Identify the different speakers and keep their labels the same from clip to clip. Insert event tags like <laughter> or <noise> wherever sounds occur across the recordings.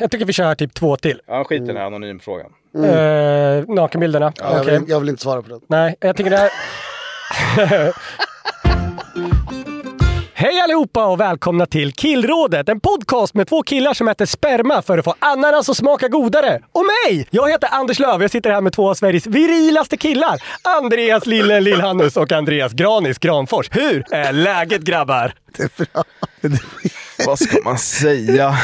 Speaker 1: Jag tycker vi kör typ två till.
Speaker 2: Ja, skit i den här anonymfrågan.
Speaker 1: Mm. nakenbilderna.
Speaker 3: Ja, jag,
Speaker 1: Okej.
Speaker 3: vill, jag vill inte svara på den.
Speaker 1: Nej, jag tycker det här... <laughs> Hej allihopa och välkomna till Killrådet, en podcast med två killar som äter sperma för att få ananas att smaka godare. Och mig! Jag heter Anders Löf och jag sitter här med två av Sveriges virilaste killar. Andreas Lillen Lillhannus och Andreas Granis Granfors. Hur är läget grabbar?
Speaker 3: Det är bra. <laughs>
Speaker 2: Vad ska man säga?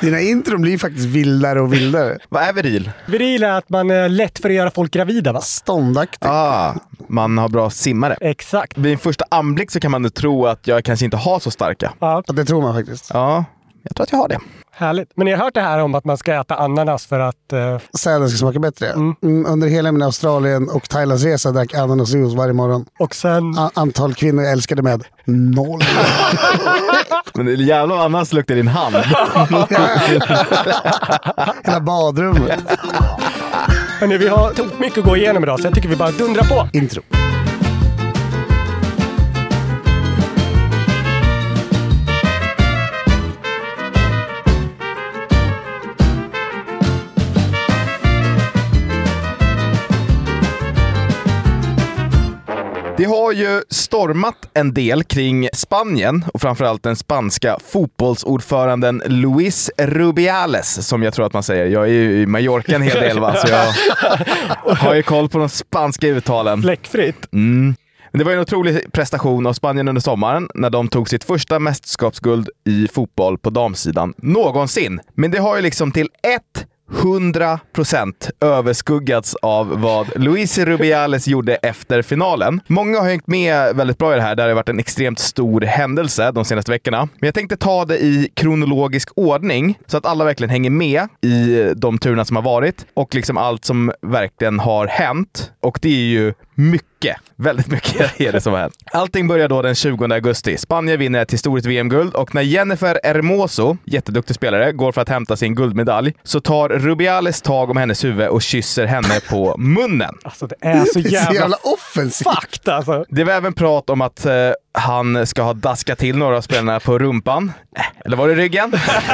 Speaker 3: Dina intron blir faktiskt vildare och vildare.
Speaker 2: Vad är viril?
Speaker 1: Viril är att man är lätt för att göra folk gravida va?
Speaker 3: Ståndaktig.
Speaker 2: Ah, man har bra simmare.
Speaker 1: Exakt.
Speaker 2: Vid en första anblick så kan man ju tro att jag kanske inte har så starka.
Speaker 1: Ja,
Speaker 3: Ja, Det tror man faktiskt.
Speaker 2: Ja, jag tror att jag har det.
Speaker 1: härligt. Men ni har hört det här om att man ska äta ananas för att eh,
Speaker 3: Säden ska smaka bättre. Mm, under hela min Australien och Thailandsresa drack jag ananasjuice varje morgon.
Speaker 1: Och sen...
Speaker 3: A- antal kvinnor jag älskade med noll.
Speaker 2: Men det är jävla vad annars luktar din hand.
Speaker 3: <laughs> Hela badrummet.
Speaker 1: Hörni, vi har tog mycket att gå igenom idag så jag tycker vi bara dundrar på.
Speaker 3: Intro.
Speaker 2: Det har ju stormat en del kring Spanien och framförallt den spanska fotbollsordföranden Luis Rubiales, som jag tror att man säger. Jag är ju i Mallorca en hel del va, så <laughs> jag har ju koll på de spanska uttalen.
Speaker 1: Fläckfritt.
Speaker 2: Mm. Men det var ju en otrolig prestation av Spanien under sommaren när de tog sitt första mästerskapsguld i fotboll på damsidan någonsin. Men det har ju liksom till 100% överskuggats av vad Luis Rubiales gjorde efter finalen. Många har hängt med väldigt bra i det här. Det här har varit en extremt stor händelse de senaste veckorna. Men jag tänkte ta det i kronologisk ordning så att alla verkligen hänger med i de turerna som har varit och liksom allt som verkligen har hänt. Och det är ju mycket, väldigt mycket <laughs> är det som har hänt. Allting börjar då den 20 augusti. Spanien vinner ett historiskt VM-guld och när Jennifer Hermoso, jätteduktig spelare, går för att hämta sin guldmedalj så tar Rubiales tag om hennes huvud och kysser henne på munnen.
Speaker 1: Alltså det är
Speaker 2: <laughs>
Speaker 1: så
Speaker 3: Det är så jävla
Speaker 1: jävla
Speaker 3: offensivt.
Speaker 1: fucked alltså.
Speaker 2: Det var även prat om att eh, han ska ha daskat till några av spelarna på rumpan. Eh, Eller var det ryggen? <laughs>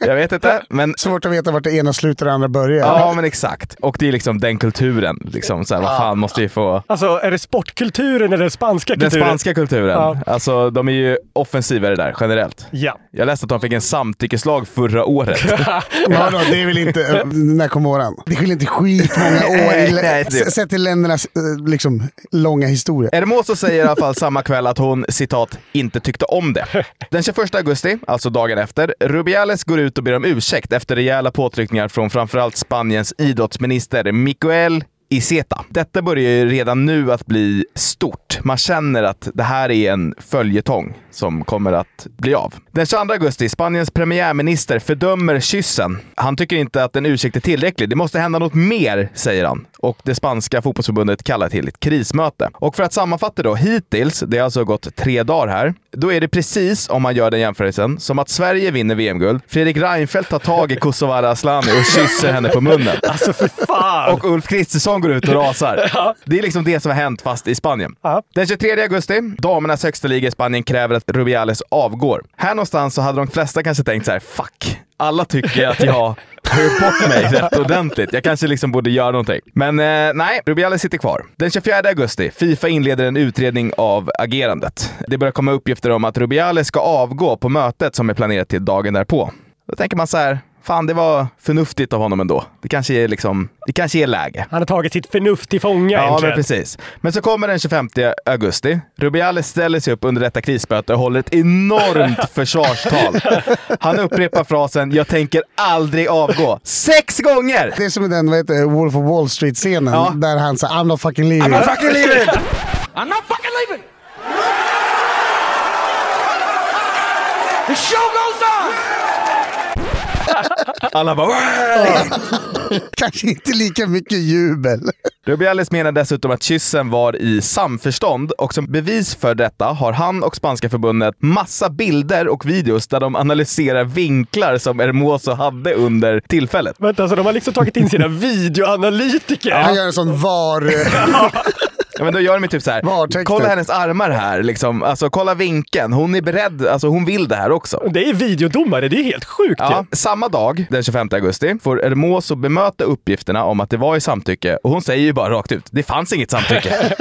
Speaker 2: jag vet inte. Men
Speaker 3: Svårt att veta vart det ena slutar och det andra börjar.
Speaker 2: Ja, men exakt. Och det är liksom den kulturen. Liksom, så här, vad fan måste vi få...
Speaker 1: Alltså är det sportkulturen eller den spanska
Speaker 2: Den
Speaker 1: kulturen?
Speaker 2: spanska kulturen.
Speaker 1: Ja.
Speaker 2: Alltså, de är ju offensivare där, generellt.
Speaker 1: Ja.
Speaker 2: Jag läste att de fick en samtyckeslag förra året.
Speaker 3: Men vadå, det är väl inte... eh, När kom våran? Det skiljer inte skitmånga år
Speaker 2: Nej,
Speaker 3: i,
Speaker 2: nej, det-
Speaker 3: sett till ländernas eh, liksom, långa historia.
Speaker 2: Hermoso säger i alla fall samma kväll att hon citat “inte tyckte om det”. Den 21 augusti, alltså dagen efter, Rubiales går ut och ber om ursäkt efter rejäla påtryckningar från framförallt Spaniens idrottsminister Miguel Iseta. Detta börjar ju redan nu att bli stort. Man känner att det här är en följetong som kommer att bli av. Den 22 augusti, Spaniens premiärminister fördömer kyssen. Han tycker inte att en ursäkt är tillräcklig. Det måste hända något mer, säger han. Och det spanska fotbollsförbundet kallar till ett krismöte. Och för att sammanfatta då, hittills, det har alltså gått tre dagar här, då är det precis, om man gör den jämförelsen, som att Sverige vinner VM-guld, Fredrik Reinfeldt tar tag i Kosovare Asllani och kysser henne på munnen.
Speaker 1: Alltså för fan.
Speaker 2: Och Ulf Kristersson går ut
Speaker 1: <laughs>
Speaker 2: och rasar. Det är liksom det som har hänt fast i Spanien.
Speaker 1: Ja.
Speaker 2: Den 23 augusti, damernas högsta liga i Spanien kräver att Rubiales avgår. Här någonstans så hade de flesta kanske tänkt så här: fuck. Alla tycker att jag tar ju bort mig rätt ordentligt. Jag kanske liksom borde göra någonting. Men eh, nej, Rubiales sitter kvar. Den 24 augusti, Fifa inleder en utredning av agerandet. Det börjar komma uppgifter om att Rubiales ska avgå på mötet som är planerat till dagen därpå. Då tänker man så här, fan det var förnuftigt av honom ändå. Det kanske är, liksom, det kanske är läge.
Speaker 1: Han har tagit sitt förnuft till fånga
Speaker 2: Ja, men
Speaker 1: äntligen.
Speaker 2: precis. Men så kommer den 25 augusti. Rubiales ställer sig upp under detta krismöte och håller ett <laughs> enormt försvarstal. Han upprepar frasen “Jag tänker aldrig avgå” sex gånger!
Speaker 3: Det är som i den vad heter, det, Wolf of Wall Street-scenen
Speaker 2: Ja.
Speaker 3: där han säger I'm not fucking leaving.
Speaker 2: I'm fucking leaving!
Speaker 4: I'm not fucking leaving. The show goes on.
Speaker 2: Alla bara "Wow!"
Speaker 3: <laughs> Kanske inte lika mycket jubel.
Speaker 2: Rubiales menar dessutom att kyssen var i samförstånd och som bevis för detta har han och spanska förbundet massa bilder och videos där de analyserar vinklar som Hermoso hade under tillfället.
Speaker 1: Vänta, så de har liksom tagit in
Speaker 2: <laughs>
Speaker 1: sina videoanalytiker?
Speaker 3: Han gör en sån var...
Speaker 2: Ja, men då gör de ju typ så här.
Speaker 3: Vartäkter.
Speaker 2: Kolla hennes armar här. Liksom. Alltså, kolla vinkeln. Hon är beredd. Alltså, hon vill det här också.
Speaker 1: Det är videodomare, det är helt sjukt
Speaker 2: Ja,
Speaker 1: ju.
Speaker 2: samma dag, den 25 augusti, får Hermoso bemöta uppgifterna om att det var i samtycke och hon säger ju bara rakt ut, det fanns inget samtycke.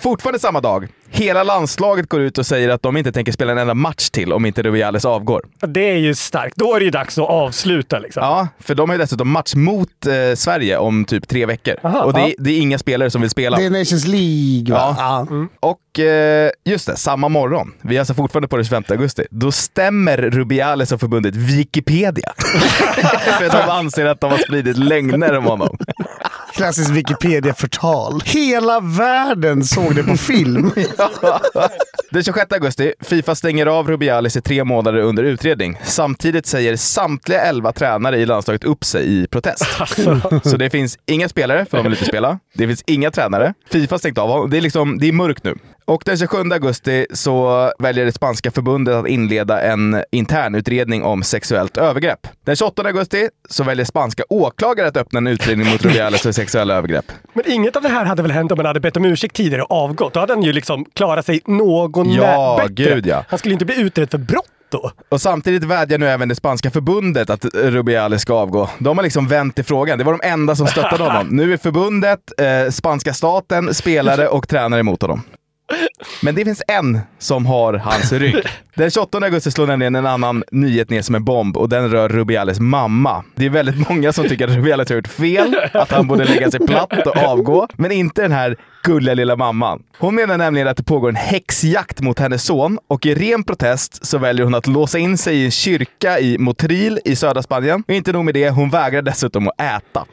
Speaker 2: Fortfarande samma dag, hela landslaget går ut och säger att de inte tänker spela en enda match till om inte Rubiales avgår.
Speaker 1: Det är ju starkt. Då är det ju dags att avsluta liksom.
Speaker 2: Ja, för de har ju dessutom match mot eh, Sverige om typ tre veckor.
Speaker 1: Aha,
Speaker 2: och det,
Speaker 1: ja.
Speaker 2: är, det är inga spelare som vill spela.
Speaker 3: Det är Nations League va?
Speaker 2: Ja. Mm. Och eh, just det, samma morgon, vi är alltså fortfarande på den 25 augusti, då stämmer Rubiales och förbundet Wikipedia. <laughs> För de anser att de har spridit lögner om honom.
Speaker 3: Klassiskt Wikipedia-förtal. Hela världen såg det på film. <laughs>
Speaker 2: Den 26 augusti, Fifa stänger av Rubiales i tre månader under utredning. Samtidigt säger samtliga elva tränare i landslaget upp sig i protest. Så det finns inga spelare, för de vill inte spela. Det finns inga tränare. Fifa har stängt av honom. Det är, liksom, det är mörkt nu. Och den 27 augusti så väljer det spanska förbundet att inleda en intern utredning om sexuellt övergrepp. Den 28 augusti så väljer spanska åklagare att öppna en utredning mot Rubiales för sexuella övergrepp.
Speaker 1: Men inget av det här hade väl hänt om han hade bett om ursäkt tidigare och avgått? Då hade han ju liksom klarat sig någon
Speaker 2: Ja,
Speaker 1: bättre.
Speaker 2: gud, ja.
Speaker 1: Han skulle inte bli utredd för brott då.
Speaker 2: Och samtidigt vädjar nu även det spanska förbundet att Rubiales ska avgå. De har liksom vänt i frågan. Det var de enda som stöttade honom. Nu är förbundet, eh, spanska staten, spelare och tränare emot honom. Men det finns en som har hans rygg. Den 28 augusti slår nämligen en annan nyhet ner som en bomb och den rör Rubiales mamma. Det är väldigt många som tycker att Rubiales har gjort fel, att han borde lägga sig platt och avgå. Men inte den här gulliga lilla mamman. Hon menar nämligen att det pågår en häxjakt mot hennes son och i ren protest så väljer hon att låsa in sig i en kyrka i Motril i södra Spanien. Och inte nog med det, hon vägrar dessutom att äta.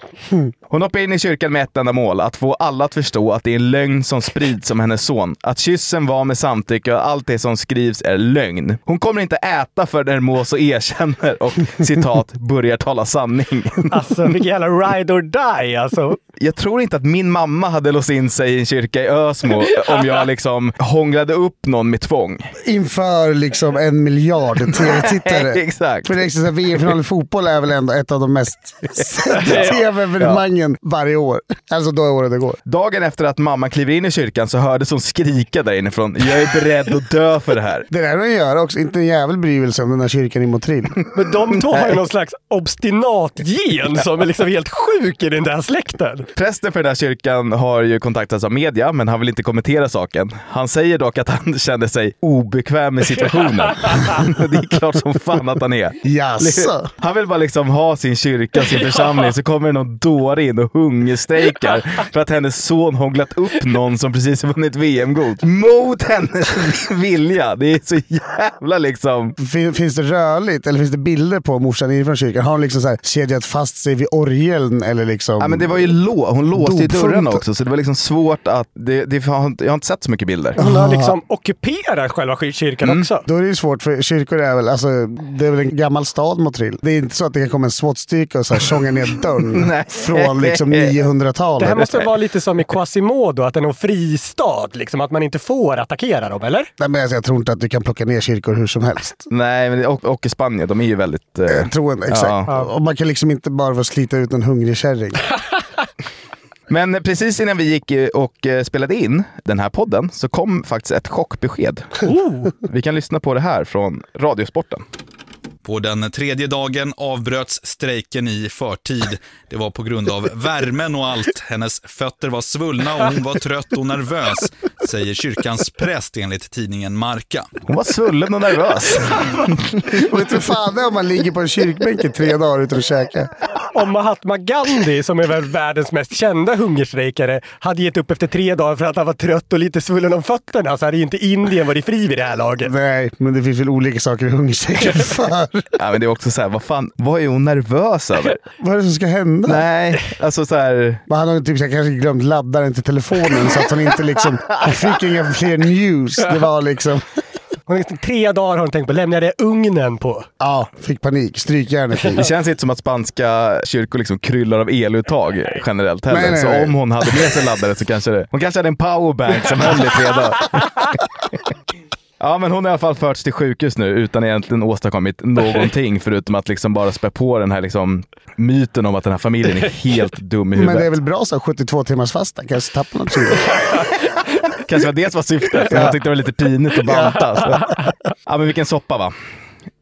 Speaker 2: Hon hoppar in i kyrkan med ett enda mål, att få alla att förstå att det är en lögn som sprids om hennes son. Att kyssen var med samtycke och allt det som skrivs är lögn. Hon kommer inte äta förrän Hermoso erkänner och citat, <laughs> börjar tala sanning.
Speaker 1: Alltså vilken jävla ride or die alltså.
Speaker 2: Jag tror inte att min mamma hade låst in sig i en kyrka i Ösmo om jag liksom hånglade upp någon med tvång.
Speaker 3: Inför liksom en miljard tv-tittare.
Speaker 2: <laughs> Exakt.
Speaker 3: För det är liksom så här, VM-final i fotboll är väl ändå ett av de mest
Speaker 2: <laughs>
Speaker 3: sedda tv-evenemangen varje år. Alltså då är året det går.
Speaker 2: Dagen efter att mamma kliver in i kyrkan så hördes hon skrika där inifrån. Jag är beredd att dö för det här.
Speaker 3: Det där de gör också. Inte en jävel bryr sig om den här kyrkan
Speaker 2: <laughs>
Speaker 3: i Motril.
Speaker 1: Men de två har ju någon slags obstinat gen som är liksom helt sjuk i den där släkten.
Speaker 2: Prästen för den här kyrkan har ju kontaktats av media, men han vill inte kommentera saken. Han säger dock att han kände sig obekväm med situationen. <laughs> det är klart som fan att han är.
Speaker 3: Jaså?
Speaker 2: Han vill bara liksom ha sin kyrka, <laughs> sin församling, så kommer det någon dåre in och hungerstrejkar för att hennes son hånglat upp någon som precis har vunnit VM-guld. Mot hennes <laughs> vilja! Det är så jävla liksom...
Speaker 3: Fin, finns det rörligt eller finns det bilder på morsan inifrån kyrkan? Har hon liksom så här kedjat fast sig vid orgeln eller liksom...
Speaker 2: Ja, men det var ju lå- hon låste ju dörren
Speaker 3: Dopfunten.
Speaker 2: också, så det var liksom svårt att... Det, det, jag har inte- jag har inte sett så mycket bilder.
Speaker 1: Hon har liksom ockuperat själva kyrkan
Speaker 2: Mm.
Speaker 1: också.
Speaker 3: Då är det ju svårt för kyrkor är väl, alltså, det är väl en gammal stad Motril. Det är inte så att det kan komma en SWAT-styrka och så här tjonga ner dörren
Speaker 2: <laughs> Nej.
Speaker 3: från liksom
Speaker 1: Det här
Speaker 3: 900-talet.
Speaker 1: måste vara lite som i Quasimodo, att det är någon fristad. Liksom, att man inte får attackera dem, eller?
Speaker 3: Nej, men alltså, jag tror inte att du kan plocka ner kyrkor hur som helst.
Speaker 2: Nej, men det, och, och i Spanien, de är ju väldigt... eh,
Speaker 3: Troende, exakt. Och man kan liksom inte bara få slita ut en
Speaker 2: <laughs>
Speaker 3: hungrig kärring.
Speaker 2: Men precis innan vi gick eh, och eh, spelade in den här podden så kom faktiskt ett chockbesked. Vi kan lyssna på det här från Radiosporten.
Speaker 5: På den tredje dagen avbröts strejken i förtid. Det var på grund av värmen och allt. Hennes fötter var svullna och hon var trött och nervös, säger kyrkans präst enligt tidningen Marka.
Speaker 2: Hon var svullen och nervös.
Speaker 3: Vet du fan det är om man ligger på en kyrkbänk i tre dagar utan att käka?
Speaker 1: Om Mahatma Gandhi, som är väl världens mest kända hungerstrejkare, hade gett upp efter tre dagar för att han var trött och lite svullen om fötterna så hade ju inte Indien varit fri vid det här laget.
Speaker 3: Nej, men det finns väl olika saker
Speaker 2: <laughs>
Speaker 3: i hungerstrejken för.
Speaker 2: ja, men det är också så här, vad fan, vad är hon nervös över?
Speaker 3: Vad är det som ska hända?
Speaker 2: Nej, alltså så här,
Speaker 3: Men han har ju typ så här, kanske glömt laddaren till telefonen så att han inte liksom... Han fick inga fler news. Det var liksom...
Speaker 1: Hon har tre dagar har hon tänkt på, lämnar jag det ugnen på?
Speaker 3: Ja, fick panik. Strykjärnet fick.
Speaker 2: det känns inte som att spanska kyrkor liksom kryllar av eluttag generellt heller.
Speaker 3: Nej, nej,
Speaker 2: så
Speaker 3: nej.
Speaker 2: om hon hade med sig laddare så kanske det... Hon kanske hade en powerbank som höll i tre
Speaker 3: <laughs>
Speaker 2: dagar. Ja, men hon har i alla fall förts till sjukhus nu utan egentligen åstadkommit någonting förutom att liksom bara spä på den här liksom myten om att den här familjen är helt dum i huvudet.
Speaker 3: Men det är väl bra så här, 72 timmars fasta. alltså Kanske tappar man också det.
Speaker 2: kanske var det som var syftet. Jag tyckte det var lite pinigt att banta. Så. Ja, men vilken soppa va.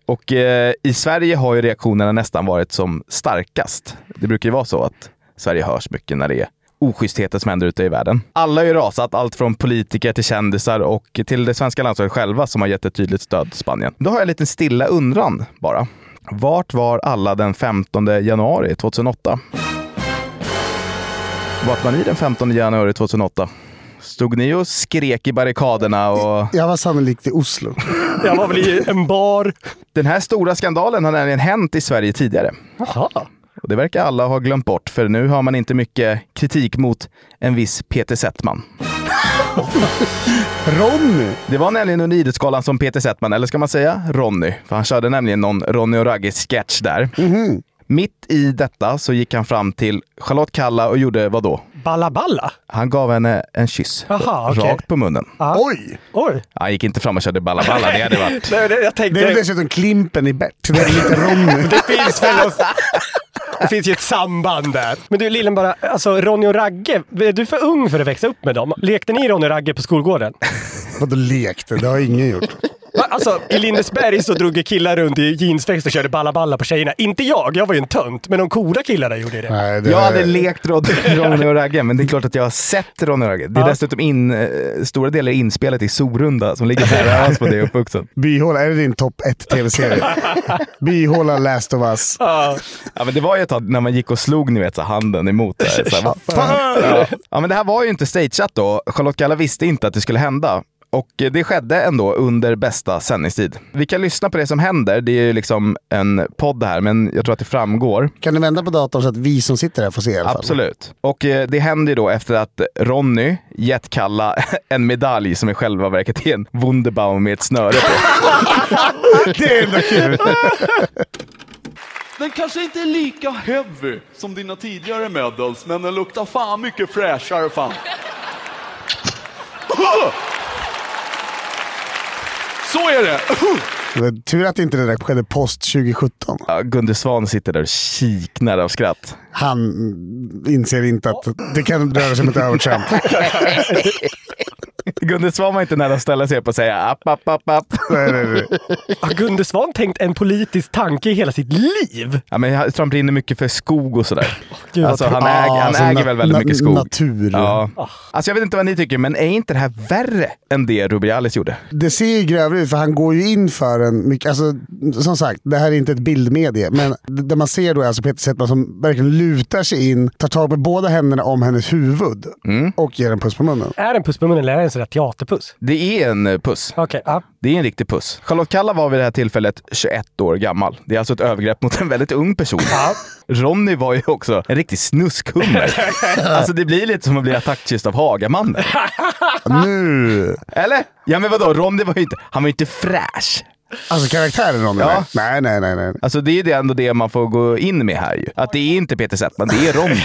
Speaker 2: Och eh, i Sverige har ju reaktionerna nästan varit som starkast. Det brukar ju vara så att Sverige hörs mycket när det är oschysstheter som händer ute i världen. Alla har ju rasat, allt från politiker till kändisar och till det svenska landslaget själva som har gett ett tydligt stöd till Spanien. Då har jag en liten stilla undran bara. Vart var alla den 15 januari 2008? Vart var ni den 15 januari 2008? Stod ni och skrek i barrikaderna? Och...
Speaker 3: Jag var sannolikt i Oslo.
Speaker 1: Jag var väl i en bar.
Speaker 2: Den här stora skandalen har nämligen hänt i Sverige tidigare.
Speaker 1: Jaha.
Speaker 2: Och det verkar alla ha glömt bort, för nu har man inte mycket kritik mot en viss Peter Settman.
Speaker 3: Ronny!
Speaker 2: Det var nämligen under Idrottsgalan som Peter Settman, eller ska man säga Ronny, för han körde nämligen någon Ronny och Ragge-sketch där.
Speaker 1: Mhm.
Speaker 2: Mitt i detta så gick han fram till Charlotte Kalla och gjorde vad då?
Speaker 1: Balla balla?
Speaker 2: Han gav henne en kyss.
Speaker 1: Aha, okej.
Speaker 2: Rakt på munnen.
Speaker 3: Oj!
Speaker 1: Oj.
Speaker 2: Han gick inte fram och körde balla balla, det hade varit
Speaker 1: Nej, det, jag tänkte...
Speaker 3: Det är väl dessutom Klimpen i Bert. Det är lite Ronny.
Speaker 1: Det finns väl något... Det finns ju ett samband där. Men du Lillen bara, alltså Ronny och Ragge, är du för ung för att växa upp med dem? Lekte ni Ronny och Ragge på skolgården?
Speaker 3: Vadå lekte? Det har ingen gjort.
Speaker 1: Va? Alltså, i Lindesberg så drog ju killar runt i jeansväxt och körde balla balla på tjejerna. Inte jag, jag var ju en tönt, men de coola killarna gjorde det.
Speaker 3: Nej, det
Speaker 2: Jag hade lekt <laughs> Rod- Ronny och Ragge, men det är klart att jag har sett Ronny och Ragge. Det är dessutom in, eh, stora delar inspelet i Sorunda som ligger nära hans på det uppvuxen.
Speaker 3: Byhåla, är det din topp ett tv-serie? Byhåla, Last of Us.
Speaker 2: <laughs> Ja, men det var ju ett tag när man gick och slog ni vet, så här, handen emot. Där, så här, vad fan? Ja. ja, men det här var ju inte stageat då. Charlotte Kalla visste inte att det skulle hända. Och eh, det skedde ändå under bästa sändningstid. Vi kan lyssna på det som händer. Det är ju liksom en podd här, men jag tror att det framgår.
Speaker 3: Kan du vända på datorn så att vi som sitter här får se i alla fall?
Speaker 2: Absolut. Och eh, det händer ju då efter att Ronny gett Kalla <laughs> en medalj som i själva verket är en Wunderbaum med ett snöre på.
Speaker 3: <laughs> Det är ändå kul.
Speaker 6: Den kanske inte är lika heavy som dina tidigare medals, men den luktar fan mycket fräschare fan. <laughs> Så är det!
Speaker 3: Men Tur att inte det där skedde post 2017.
Speaker 2: Ja, Gunde Svan sitter där och kiknar av skratt.
Speaker 3: Han inser inte att det kan röra sig om ett övertramp.
Speaker 2: Gunde Svan var inte nära att ställa sig upp och säga app, app, app, app.
Speaker 3: Nej, nej, nej.
Speaker 1: Har Gunde Svan tänkt en politisk tanke i hela sitt liv?
Speaker 2: Ja, men jag tror han brinner mycket för skog och sådär.
Speaker 1: Gud, vad
Speaker 2: alltså, <laughs> han
Speaker 3: tråkigt.
Speaker 2: äger,
Speaker 3: Ah,
Speaker 2: han
Speaker 3: alltså,
Speaker 2: äger
Speaker 3: na-
Speaker 2: väl väldigt
Speaker 3: na- Ah.
Speaker 2: mycket skog.
Speaker 3: natur.
Speaker 2: Ja. Alltså, jag vet inte vad ni tycker, men är inte det här värre än det Rubiales gjorde?
Speaker 3: Det ser ju grövre ut för han går ju in för en... mycket- Alltså, som sagt, det här är inte ett bildmedie, men det det man ser då är alltså Peter Settman som verkligen lutar sig in, tar tag med båda händerna om hennes huvud
Speaker 2: Mm.
Speaker 3: och ger en puss på munnen.
Speaker 1: Är det en puss på munnen eller är det en sån där teaterpuss?
Speaker 2: Det är en eh, puss.
Speaker 1: Okej, ja.
Speaker 2: Det är en riktig puss. Charlotte Kalla var vid det här tillfället 21 år gammal. Det är alltså ett övergrepp mot en väldigt ung person. Ronny var ju också en riktig snuskhummer. alltså det blir lite som att bli attackkyst av Hagamannen.
Speaker 3: Nu!
Speaker 2: Eller? Ja men vadå, Ronny var ju inte, han var ju inte fräsch.
Speaker 3: Alltså karaktären Ronny.
Speaker 2: Ja.
Speaker 3: Nej, nej, nej. nej.
Speaker 2: Alltså det är ju det ändå det man får gå in med här ju. Att det är inte Peter Settman, det är Ronny.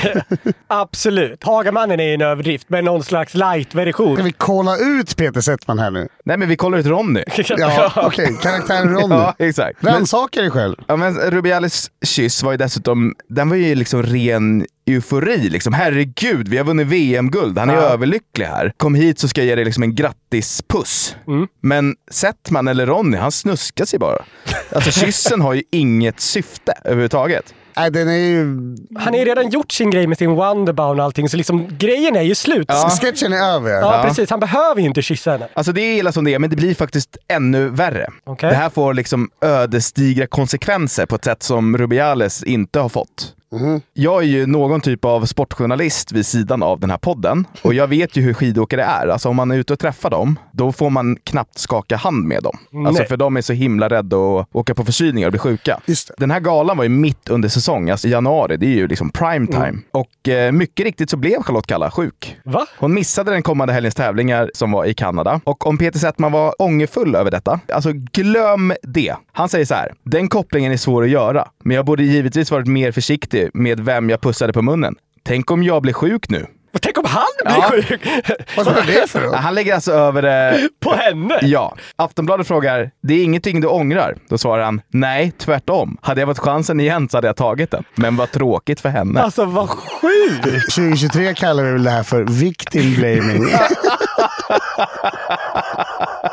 Speaker 1: Absolut. Hagamannen är ju en överdrift, men någon slags light-version.
Speaker 3: Ska vi kolla ut Peter Settman här nu?
Speaker 2: Nej men vi kollar ut Ronny.
Speaker 3: Ja, okej. Karaktären
Speaker 2: <laughs>
Speaker 3: Ronny.
Speaker 2: Ja, exakt. Men,
Speaker 3: Rannsaka dig själv.
Speaker 2: ja, men Rubiales kyss var ju dessutom, den var ju liksom ren eufori. Liksom. Herregud, vi har vunnit VM-guld. Han är överlycklig här. Kom hit så ska jag ge dig liksom en grattispuss. Men Settman eller Ronny, han snuskar sig bara. Alltså kyssen har ju inget syfte överhuvudtaget.
Speaker 3: Nej, den är ju...
Speaker 1: Han har ju redan gjort sin grej med sin Wonderbound och allting, så liksom grejen är ju slut. Ja,
Speaker 3: Sketchen är över. ja.
Speaker 1: precis. Han behöver ju inte kyssa henne.
Speaker 2: Alltså det är illa som det är, men det blir faktiskt ännu värre.
Speaker 1: Okej.
Speaker 2: Det här får liksom ödesdigra konsekvenser på ett sätt som Rubiales inte har fått.
Speaker 3: Mhm.
Speaker 2: Jag är ju någon typ av sportjournalist vid sidan av den här podden och jag vet ju hur skidåkare är. Alltså om man är ute och träffar dem, då får man knappt skaka hand med dem. Alltså
Speaker 1: Nej.
Speaker 2: för de är så himla rädda att åka på förkylningar och bli sjuka.
Speaker 3: Just det.
Speaker 2: Den här galan var ju mitt under säsong, alltså i januari. Det är ju liksom prime time.
Speaker 3: Mm.
Speaker 2: Och eh, mycket riktigt så blev Charlotte Kalla sjuk.
Speaker 1: Va?
Speaker 2: Hon missade den kommande helgens tävlingar som var i Kanada. Och om Peter Settman var ångerfull över detta, alltså glöm det. Han säger så här, den kopplingen är svår att göra, men jag borde givetvis varit mer försiktig med vem jag pussade på munnen. Tänk om jag blir sjuk nu?
Speaker 1: Och Tänk om han blir sjuk!
Speaker 3: Vad spelar det för
Speaker 2: Ja,
Speaker 3: roll?
Speaker 2: Han lägger alltså över det.
Speaker 1: På henne!
Speaker 2: Ja. Aftonbladet frågar, det är ingenting du ångrar? Då svarar han, nej, tvärtom. Hade jag fått chansen igen så hade jag tagit den. Men vad tråkigt för henne.
Speaker 1: Alltså vad sjukt!
Speaker 3: 2023 kallar vi väl det här för victim <laughs> blaming.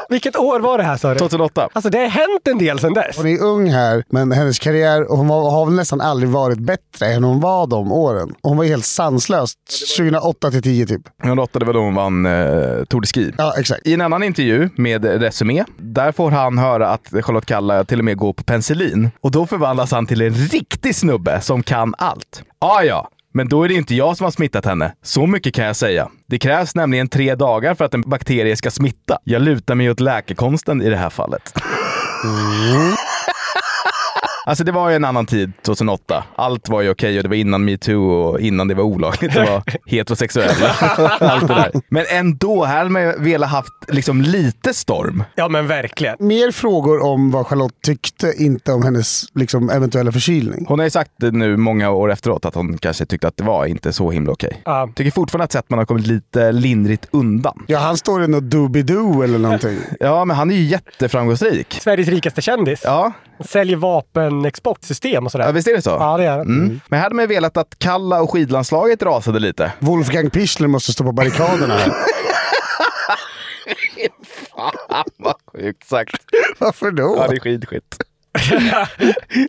Speaker 1: Vilket år var det här sa du?
Speaker 2: 2008.
Speaker 1: Alltså det har hänt en del sedan dess.
Speaker 3: Hon är ung här, men hennes karriär, hon var, har väl nästan aldrig varit bättre än hon var de åren. Hon var helt sanslös 2008 till 10 typ.
Speaker 2: 2008 det var då hon vann eh, Tour de Ski.
Speaker 3: Ja, exakt.
Speaker 2: I en annan intervju med Resumé, där får han höra att Charlotte Kalla till och med går på penicillin. Och då förvandlas han till en riktig snubbe som kan allt. Ah, ja, men då är det inte jag som har smittat henne. Så mycket kan jag säga. Det krävs nämligen tre dagar för att en bakterie ska smitta. Jag lutar mig åt läkekonsten i det här fallet. <laughs> Alltså det var ju en annan tid, 2008. Allt var ju okej och det var innan metoo och innan det var olagligt att vara heterosexuell. <laughs> Allt det där. Men ändå, här hade man ju velat haft liksom lite storm.
Speaker 1: Ja men verkligen.
Speaker 3: Mer frågor om vad Charlotte tyckte, inte om hennes liksom, eventuella förkylning.
Speaker 2: Hon har ju sagt det nu många år efteråt att hon kanske tyckte att det var inte så himla okej.
Speaker 1: Ja.
Speaker 2: Tycker fortfarande att Zätman har kommit lite lindrigt undan.
Speaker 3: Ja, han står i något doobidoo eller <laughs> någonting.
Speaker 2: Ja, men han är ju jätteframgångsrik.
Speaker 1: Sveriges rikaste kändis.
Speaker 2: Ja,
Speaker 1: Säljer vapenexportsystem och sådär.
Speaker 2: ja visst är det så?
Speaker 1: Ja, det är han.
Speaker 2: Mm. Men här hade man ju velat att Kalla och skidlandslaget rasade lite.
Speaker 3: Wolfgang Pichler måste stå på barrikaderna. här.
Speaker 2: Vad sjukt sagt.
Speaker 3: <laughs> Varför
Speaker 2: Ja,
Speaker 3: då?
Speaker 2: det är skidskit.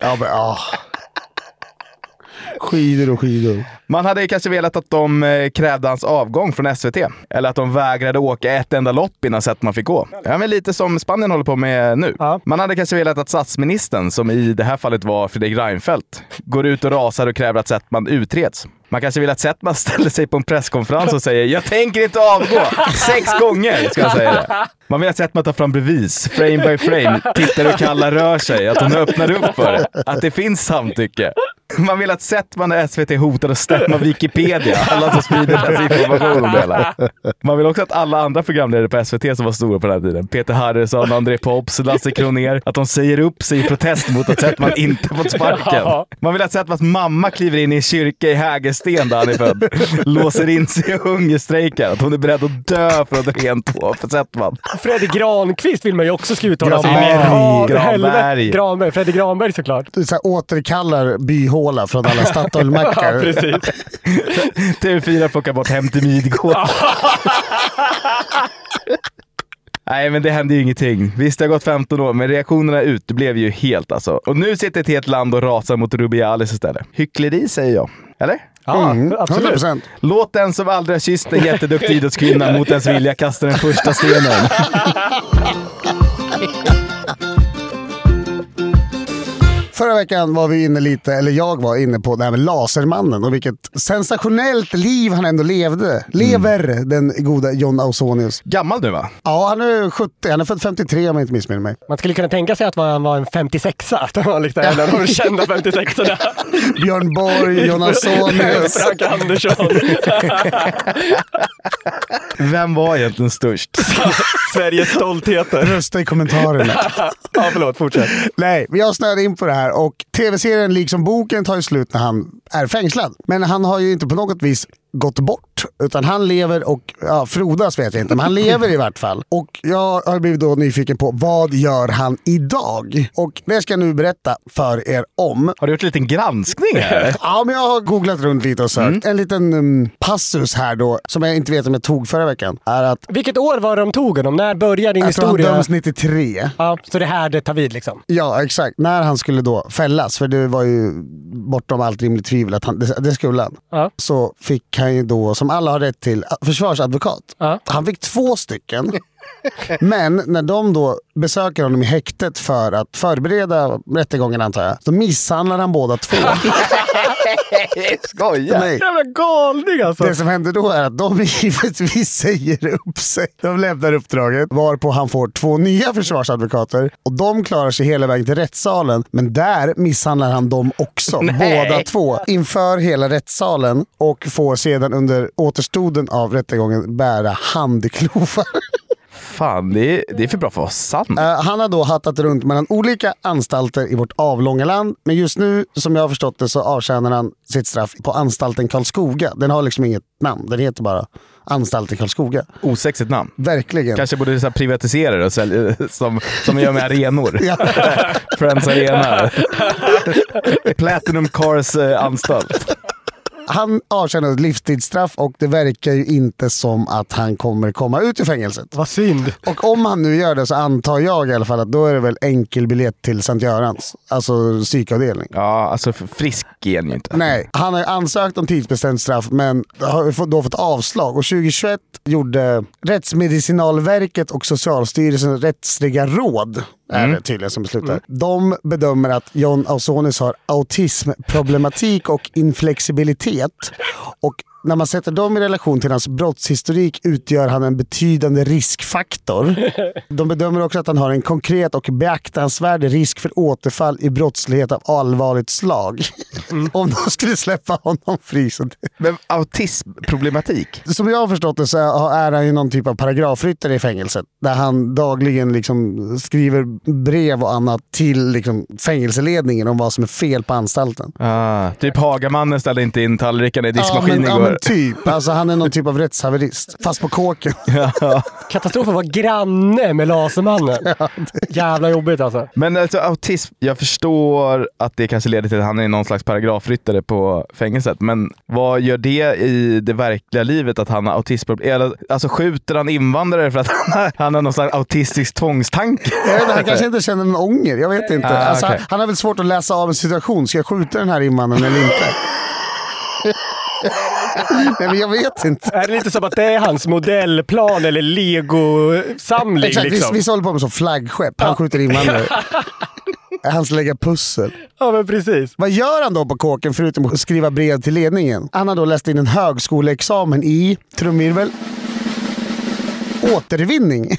Speaker 3: Ja, men, ah. Skidor och skidor.
Speaker 2: Man hade ju kanske velat att de eh, krävde hans avgång från SVT. Eller att de vägrade åka ett enda lopp innan sätt man fick gå. Ja, men lite som Spanien håller på med nu.
Speaker 1: Ja.
Speaker 2: Man hade kanske velat att statsministern, som i det här fallet var Fredrik Reinfeldt, går ut och rasar och kräver att Settman utreds. Man <laughs> kanske vill att Settman ställer sig på en presskonferens och säger “Jag tänker inte avgå!” Sex gånger ska jag säga det. Man vill att Settman tar fram bevis, frame by frame, tittar hur Kalla rör sig, att hon öppnar upp för det, att det finns samtycke. <laughs> Man vill att Settman och SVT hotar att stämma Wikipedia, alla som sprider desinformation om det hela. Man vill också att alla andra programledare på SVT som var stora på den här tiden, Peter Harrison, André Pops, Lasse Kroner, att de säger upp sig i protest mot att Settman inte fått sparken.
Speaker 1: Ja.
Speaker 2: Man vill att Settmans mamma kliver in i en kyrka i Hägersten där han är född, låser in sig och hungerstrejkar, att hon är beredd att dö för att rent på för Settman.
Speaker 1: Fredrik Granqvist vill man ju också ska uttala sig om.
Speaker 2: Granberg.
Speaker 1: Ja,
Speaker 2: Granberg.
Speaker 1: helvete. Granberg. Fredrik Granberg såklart.
Speaker 3: Du så här, återkallar byhåla från <laughs> alla
Speaker 1: Ja,
Speaker 3: Statoil-mackar.
Speaker 1: precis.
Speaker 2: TV4 plockar bort Hem till Midgård. <laughs> Nej, men det hände ju ingenting. Visst, det har gått 15 år, men reaktionerna uteblev ju helt alltså. Och nu sitter ett helt land och rasar mot Rubiales istället. Hyckleri, säger jag. Eller?
Speaker 1: Ja,
Speaker 3: Mm,
Speaker 1: absolut.
Speaker 3: 100%.
Speaker 2: Låt den som aldrig har kysst en <laughs> jätteduktig idrottskvinna mot ens vilja kasta den första stenen.
Speaker 3: Förra veckan var vi inne lite, eller jag var inne på det här med Lasermannen och vilket sensationellt liv han ändå levde. Lever den goda John Ausonius.
Speaker 2: Gammal nu va?
Speaker 3: Ja, han är 70, han är född 53 om jag inte missminner mig.
Speaker 1: Man skulle kunna tänka sig att han var en 56a. Att han var liksom en av de kända 56orna.
Speaker 3: Björn Borg, John
Speaker 1: <laughs>
Speaker 3: Ausonius.
Speaker 1: Frank Andersson.
Speaker 2: Vem var egentligen störst?
Speaker 1: Sveriges stoltheter.
Speaker 3: Rösta i kommentarerna.
Speaker 1: <laughs> Ja, förlåt. Fortsätt.
Speaker 3: Nej, men jag snöade in på det här och tv-serien liksom boken tar ju slut när han är fängslad. Men han har ju inte på något vis gått bort. Utan han lever och, ja, frodas vet jag inte, men han lever i vart fall. Och jag har blivit då nyfiken på vad gör han idag? Och det ska jag nu berätta för er om.
Speaker 2: Har du gjort en liten granskning <laughs> här?
Speaker 3: Ja, men jag har googlat runt lite och sökt.
Speaker 1: Mm.
Speaker 3: En liten um, passus här då, som jag inte vet om jag tog förra veckan, är att
Speaker 1: Vilket år var de tog honom? När började din
Speaker 3: jag tror han
Speaker 1: historia?
Speaker 3: döms 93.
Speaker 1: Ja, så det här det tar vid liksom.
Speaker 3: Ja, exakt. När han skulle då fällas, för det var ju bortom allt rimligt tvivel att han, det, det skulle han.
Speaker 1: Ja.
Speaker 3: Så fick han ju då, som alla har rätt till, försvarsadvokat.
Speaker 1: Ja.
Speaker 3: Han fick två stycken. <laughs> Men när de då besöker honom i häktet för att förbereda rättegången antar jag, då misshandlar han
Speaker 1: <laughs>
Speaker 3: båda två.
Speaker 2: Skoja!
Speaker 3: Nej.
Speaker 1: Jävla galning alltså!
Speaker 3: Det som händer då är att de <laughs> givetvis säger upp sig. De lämnar uppdraget, varpå han får två nya försvarsadvokater. Och de klarar sig hela vägen till rättssalen, men där misshandlar han dem också, båda två, inför hela rättssalen och får sedan under återstoden av rättegången bära handklovar.
Speaker 2: Fan, det är, det är för bra för att vara sant.
Speaker 3: Eh, Han har då hattat runt mellan olika anstalter i vårt avlånga land, men just nu, som jag har förstått det, så avtjänar han sitt straff på anstalten Karlskoga. Den har liksom inget namn, den heter bara anstalten Karlskoga.
Speaker 2: Osexigt namn.
Speaker 3: Verkligen.
Speaker 2: Kanske borde så här privatisera det och sälja, som, som jag gör med arenor. Friends Arena. Platinum Cars eh, anstalt.
Speaker 3: Han avtjänar ett livstidsstraff och det verkar ju inte som att han kommer komma ut ur fängelset.
Speaker 1: Vad synd.
Speaker 3: Och om han nu gör det så antar jag i alla fall att då är det väl enkelbiljett till Sankt Görans, alltså psykavdelning.
Speaker 2: Ja, alltså f- frisk är han ju inte.
Speaker 3: Nej, han har ju ansökt om tidsbestämt straff men har ju fått- då fått avslag. Och 2021 gjorde Rättsmedicinalverket och Socialstyrelsen rättsliga råd, är det tydligen som beslutar. De bedömer att John Ausonius har autismproblematik och inflexibilitet. Och när man sätter dem i relation till hans brottshistorik utgör han en betydande <laughs> riskfaktor. De bedömer också att han har en konkret och beaktansvärd risk för återfall i brottslighet av allvarligt slag. <laughs> Om de skulle släppa honom fri. Så det-
Speaker 2: Men autismproblematik?
Speaker 3: Som jag har förstått det så är han ju någon typ av paragrafryttare i fängelset. Där han dagligen liksom skriver brev och annat till liksom fängelseledningen om vad som är fel på anstalten.
Speaker 2: Ah, typ Hagamannen ställde inte in tallrikarna i
Speaker 3: Ja
Speaker 2: diskmaskinen
Speaker 3: men, ja, men
Speaker 2: igår.
Speaker 3: typ. Alltså, han är någon typ av rättshaverist. Fast på kåken.
Speaker 1: Katastrofen var granne med
Speaker 3: <laughs>
Speaker 1: Lasermannen. Jävla jobbigt alltså.
Speaker 2: Men alltså autism, jag förstår att det kanske leder till att han är någon slags paragrafryttare på fängelset. Men vad gör det i det verkliga livet att han har autismproblem? Eller, Alltså skjuter han invandrare för att han har, han har någon slags autistisk tvångstanke? <laughs>
Speaker 3: Jag vet, inte, han kanske inte känner någon ånger. Jag vet inte.
Speaker 2: Ah,
Speaker 3: alltså,
Speaker 2: okej.
Speaker 3: han, han har väl svårt att läsa av en situation. Ska jag skjuta den här invandraren
Speaker 2: <laughs>
Speaker 3: eller inte? Nej, men jag vet inte.
Speaker 1: Är det lite som att det är hans modellplan eller legosamling
Speaker 3: Exakt,
Speaker 1: liksom?
Speaker 3: vi, vi håller på med som flaggskepp. Han
Speaker 2: <laughs>
Speaker 3: skjuter invandrare. Hans lägga pussel.
Speaker 1: Ja, men precis.
Speaker 3: Vad gör han då på kåken förutom att skriva brev till ledningen? Han har då läst in en högskoleexamen i, trumvirvel, återvinning. <laughs>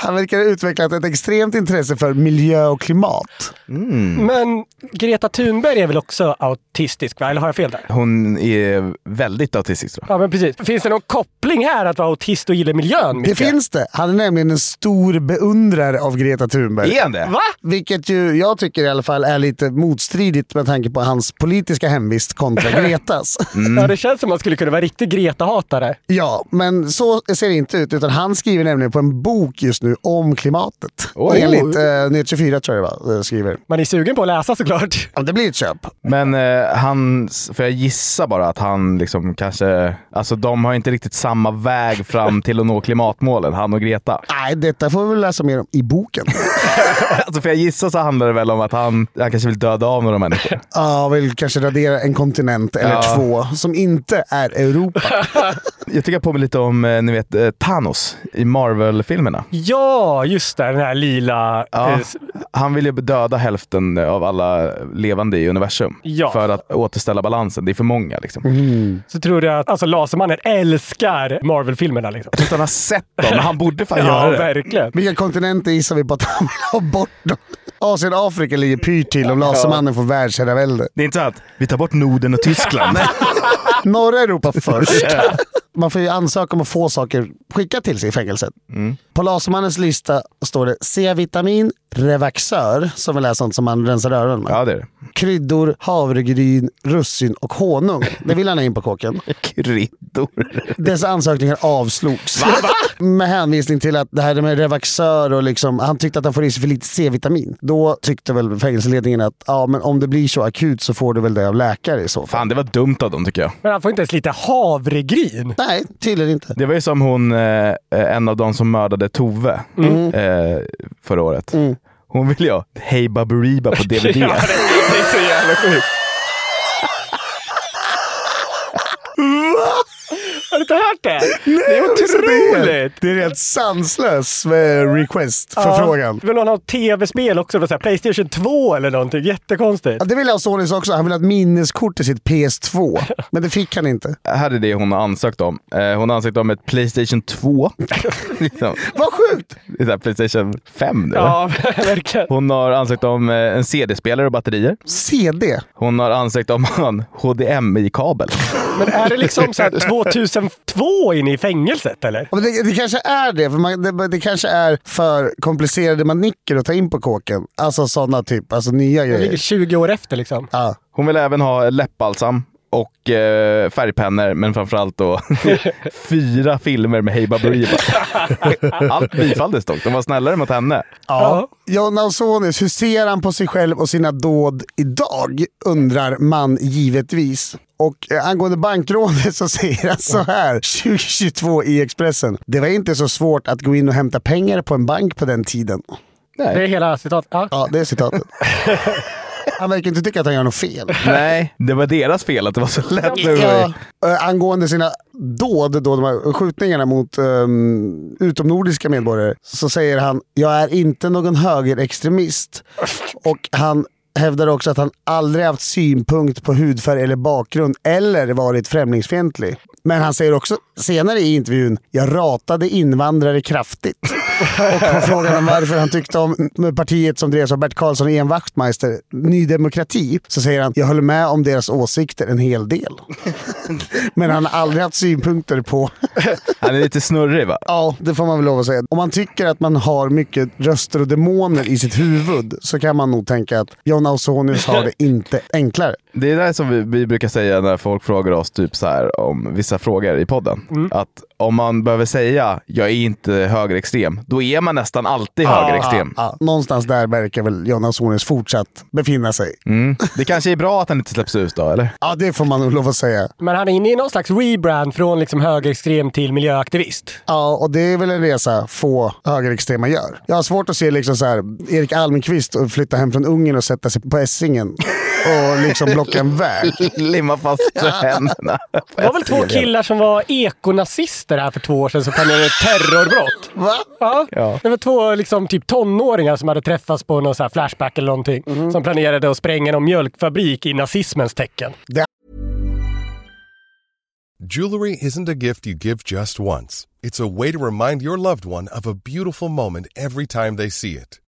Speaker 3: Han verkar ha utvecklat ett extremt intresse för miljö och klimat. Mm.
Speaker 1: Men Greta Thunberg är väl också autistisk, va? Eller har jag fel där?
Speaker 2: Hon är väldigt autistisk tror jag.
Speaker 1: Ja, men precis. Finns det någon koppling här att vara autist och gilla miljön?
Speaker 3: Det
Speaker 1: Micke?
Speaker 3: finns det. Han är nämligen en stor beundrare av Greta Thunberg.
Speaker 2: Är han det?
Speaker 1: Va?
Speaker 3: Vilket ju jag tycker i alla fall är lite motstridigt med tanke på hans politiska hemvist kontra Gretas.
Speaker 1: Ja, det känns som att man skulle kunna vara riktig Greta-hatare.
Speaker 3: Ja, men så ser det inte ut. Utan han skriver nämligen på en bok just nu om klimatet.
Speaker 2: Oj.
Speaker 3: Enligt eh, Nyhet 24 tror jag det var, eh, skriver.
Speaker 1: Man är sugen på att läsa såklart. <laughs>
Speaker 3: Ja, det blir ett köp.
Speaker 2: Men eh, han, för jag gissa bara att han liksom kanske, alltså de har inte riktigt samma väg fram till att nå klimatmålen, han och Greta.
Speaker 3: Nej, detta får vi väl läsa mer om
Speaker 2: <laughs>
Speaker 3: i boken.
Speaker 2: Alltså för jag gissa så handlar det väl om att han, han kanske vill döda av några människor.
Speaker 3: Ja, vill kanske radera en kontinent eller
Speaker 2: Ja.
Speaker 3: två som inte är
Speaker 2: <laughs>
Speaker 3: Europa.
Speaker 2: Jag tycker jag påminner lite om, eh, ni vet, eh, Thanos i Marvel-filmerna.
Speaker 1: Ja, just det. Den här lila...
Speaker 2: Ja,
Speaker 1: eh, s-
Speaker 2: han vill ju döda hälften av alla levande i universum
Speaker 1: Ja.
Speaker 2: för att återställa balansen. Det är för många. Liksom.
Speaker 1: Så tror jag att alltså, Lasermannen älskar Marvel-filmerna. Liksom.
Speaker 2: Jag tror inte han har sett dem, men han borde fan
Speaker 1: Ja,
Speaker 2: göra det.
Speaker 1: verkligen.
Speaker 3: Vilka kontinenter gissar vi på att han vill ha bort dem? Asien och Afrika ligger pyrt till om Lasermannen får världsherravälde.
Speaker 2: Det är inte så att vi tar bort Norden och Tyskland.
Speaker 1: <laughs>
Speaker 3: Norra Europa först. Man får ju ansöka om att få saker skickat till sig i fängelset. På Lasermannens lista står det C-vitamin, Revaxör, som väl är sånt som man rensar öronen med.
Speaker 2: Ja, det är det.
Speaker 3: Kryddor, havregryn, russin och honung. Det vill han ha in på kåken.
Speaker 2: Kryddor.
Speaker 3: Dessa ansökningar avslogs. Med hänvisning till att det här med Revaxör och liksom, han tyckte att han får i sig för lite C-vitamin. Då tyckte väl fängelseledningen att ja, men om det blir så akut så får du väl det av läkare i så fall.
Speaker 2: Fan, det var dumt av dem tycker jag.
Speaker 1: Men han får inte ens lite havregryn.
Speaker 3: Nej, tydligen inte.
Speaker 2: Det var ju som hon, eh, en av de som mördade Tove eh, förra året. Hon vill ju ha Hey Baberiba
Speaker 1: <laughs>
Speaker 2: på DVD.
Speaker 1: Ja, det-
Speaker 2: är så jävla sjukt.
Speaker 1: <laughs> Har du inte hört det? det är otroligt!
Speaker 3: Det är en helt sanslös eh, request, förfrågan.
Speaker 1: Ja, vill någon ha tv-spel också? Så här, Playstation 2 eller någonting? Jättekonstigt.
Speaker 3: Ja, det ville Solis också. Han ville ha ett minneskort till sitt
Speaker 1: <laughs>
Speaker 3: PS2. Men det fick han inte.
Speaker 2: Här är det hon har ansökt om. Eh, Hon har ansökt om ett
Speaker 1: <laughs>
Speaker 2: Playstation 2. liksom,
Speaker 3: Vad sjukt!
Speaker 2: det är så här Playstation 5 nu.
Speaker 1: Ja, <laughs> verkligen.
Speaker 2: Hon har ansökt om eh, en CD-spelare och batterier.
Speaker 3: CD.
Speaker 2: Hon har ansökt om en HDMI-kabel.
Speaker 1: Men är det liksom så här 2002 inne i fängelset eller?
Speaker 3: Ja, men Det, det kanske är det, för man, det, det kanske är för komplicerade manicker att ta in på kåken. Alltså sådana typ, alltså nya
Speaker 1: Det ligger
Speaker 3: grejer.
Speaker 1: 20 år efter liksom.
Speaker 3: Ja.
Speaker 2: Hon vill även ha läppbalsam och eh, färgpennor, men framförallt då <laughs> fyra filmer med
Speaker 1: <laughs>
Speaker 2: Hey Baberiba. Allt bifalldes dock. De var snällare mot henne.
Speaker 1: Ja.
Speaker 3: John Ausonius, hur ser han på sig själv och sina dåd idag? Undrar man givetvis. Och eh, angående bankrånet så säger han så här 2022 i Expressen. Det var inte så svårt att gå in och hämta pengar på en bank på den tiden.
Speaker 1: Det är hela citatet. Ja.
Speaker 3: Ja, det är citatet. Han verkar inte tycka att han gör något fel.
Speaker 2: Nej, det var deras fel att det var så lätt.
Speaker 3: Ja, eh, angående sina dåd, då, de här skjutningarna mot ehm, utomnordiska medborgare, så säger han “Jag är inte någon högerextremist” och han hävdar också att han aldrig haft synpunkt på hudfärg eller bakgrund eller varit främlingsfientlig. Men han säger också senare i intervjun “Jag ratade invandrare kraftigt” och på frågan om varför han tyckte om partiet som drevs av Bert Karlsson och Ian Wachtmeister, Ny Demokrati, så säger han “Jag höll med om deras åsikter en hel del”. Men han har aldrig haft synpunkter på...
Speaker 2: Han är lite snurrig va?
Speaker 3: Ja, det får man väl lov att säga. Om man tycker att man har mycket röster och demoner i sitt huvud så kan man nog tänka att John Ausonius har <laughs> det inte enklare.
Speaker 2: Det är det som vi, vi brukar säga när folk frågar oss typ så här, om vissa frågor i podden. Att om man behöver säga “jag är inte högerextrem”, då är man nästan alltid <laughs> högerextrem.
Speaker 3: Ja, någonstans där verkar väl John Ausonius fortsatt befinna sig.
Speaker 2: Mm. Det kanske är bra att han inte släpps ut då, eller?
Speaker 3: Ja, det får man nog lov att säga.
Speaker 1: Men han är inne i någon slags rebrand från liksom högerextrem till miljöaktivist.
Speaker 3: Ja, och det är väl en resa få högerextrema gör. Jag har svårt att se liksom så här, Erik Almqvist och flytta hem från Ungern och sätta sig på Essingen och liksom blocka en <laughs> väg.
Speaker 2: Limma <laughs> fast händerna.
Speaker 1: Det var väl två killar som var ekonazister här för två år sedan som planerade terrorbrott?
Speaker 3: Va?
Speaker 1: Ja.
Speaker 2: Ja.
Speaker 1: Det var två liksom, typ tonåringar som hade träffats på någon så här flashback eller någonting. Som planerade att spränga någon mjölkfabrik i nazismens tecken.
Speaker 7: Jewelry isn't a gift you give just once. It's a way to remind your loved one of a beautiful moment every time they see it.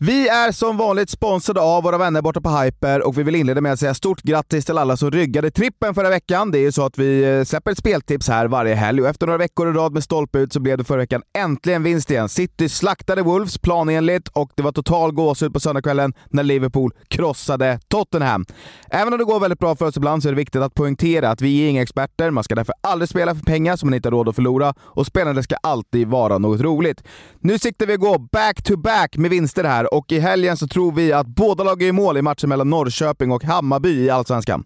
Speaker 2: Vi är som vanligt sponsrade av våra vänner borta på Hyper och vi vill inleda med att säga stort grattis till alla som ryggade trippen förra veckan. Det är ju så att vi eh, släpper ett speltips här varje helg och efter några veckor i rad med stolpe ut så blev det förra veckan äntligen vinst igen. City slaktade Wolves planenligt och det var total gåshud på söndagskvällen när Liverpool krossade Tottenham. Även om det går väldigt bra för oss ibland så är det viktigt att poängtera att vi är inga experter. Man ska därför aldrig spela för pengar som man inte har råd att förlora och spelandet ska alltid vara något roligt. Nu siktar vi att gå back-to-back med vinster här och i helgen så tror vi att båda lagen gör mål i matchen mellan Norrköping och Hammarby i Allsvenskan.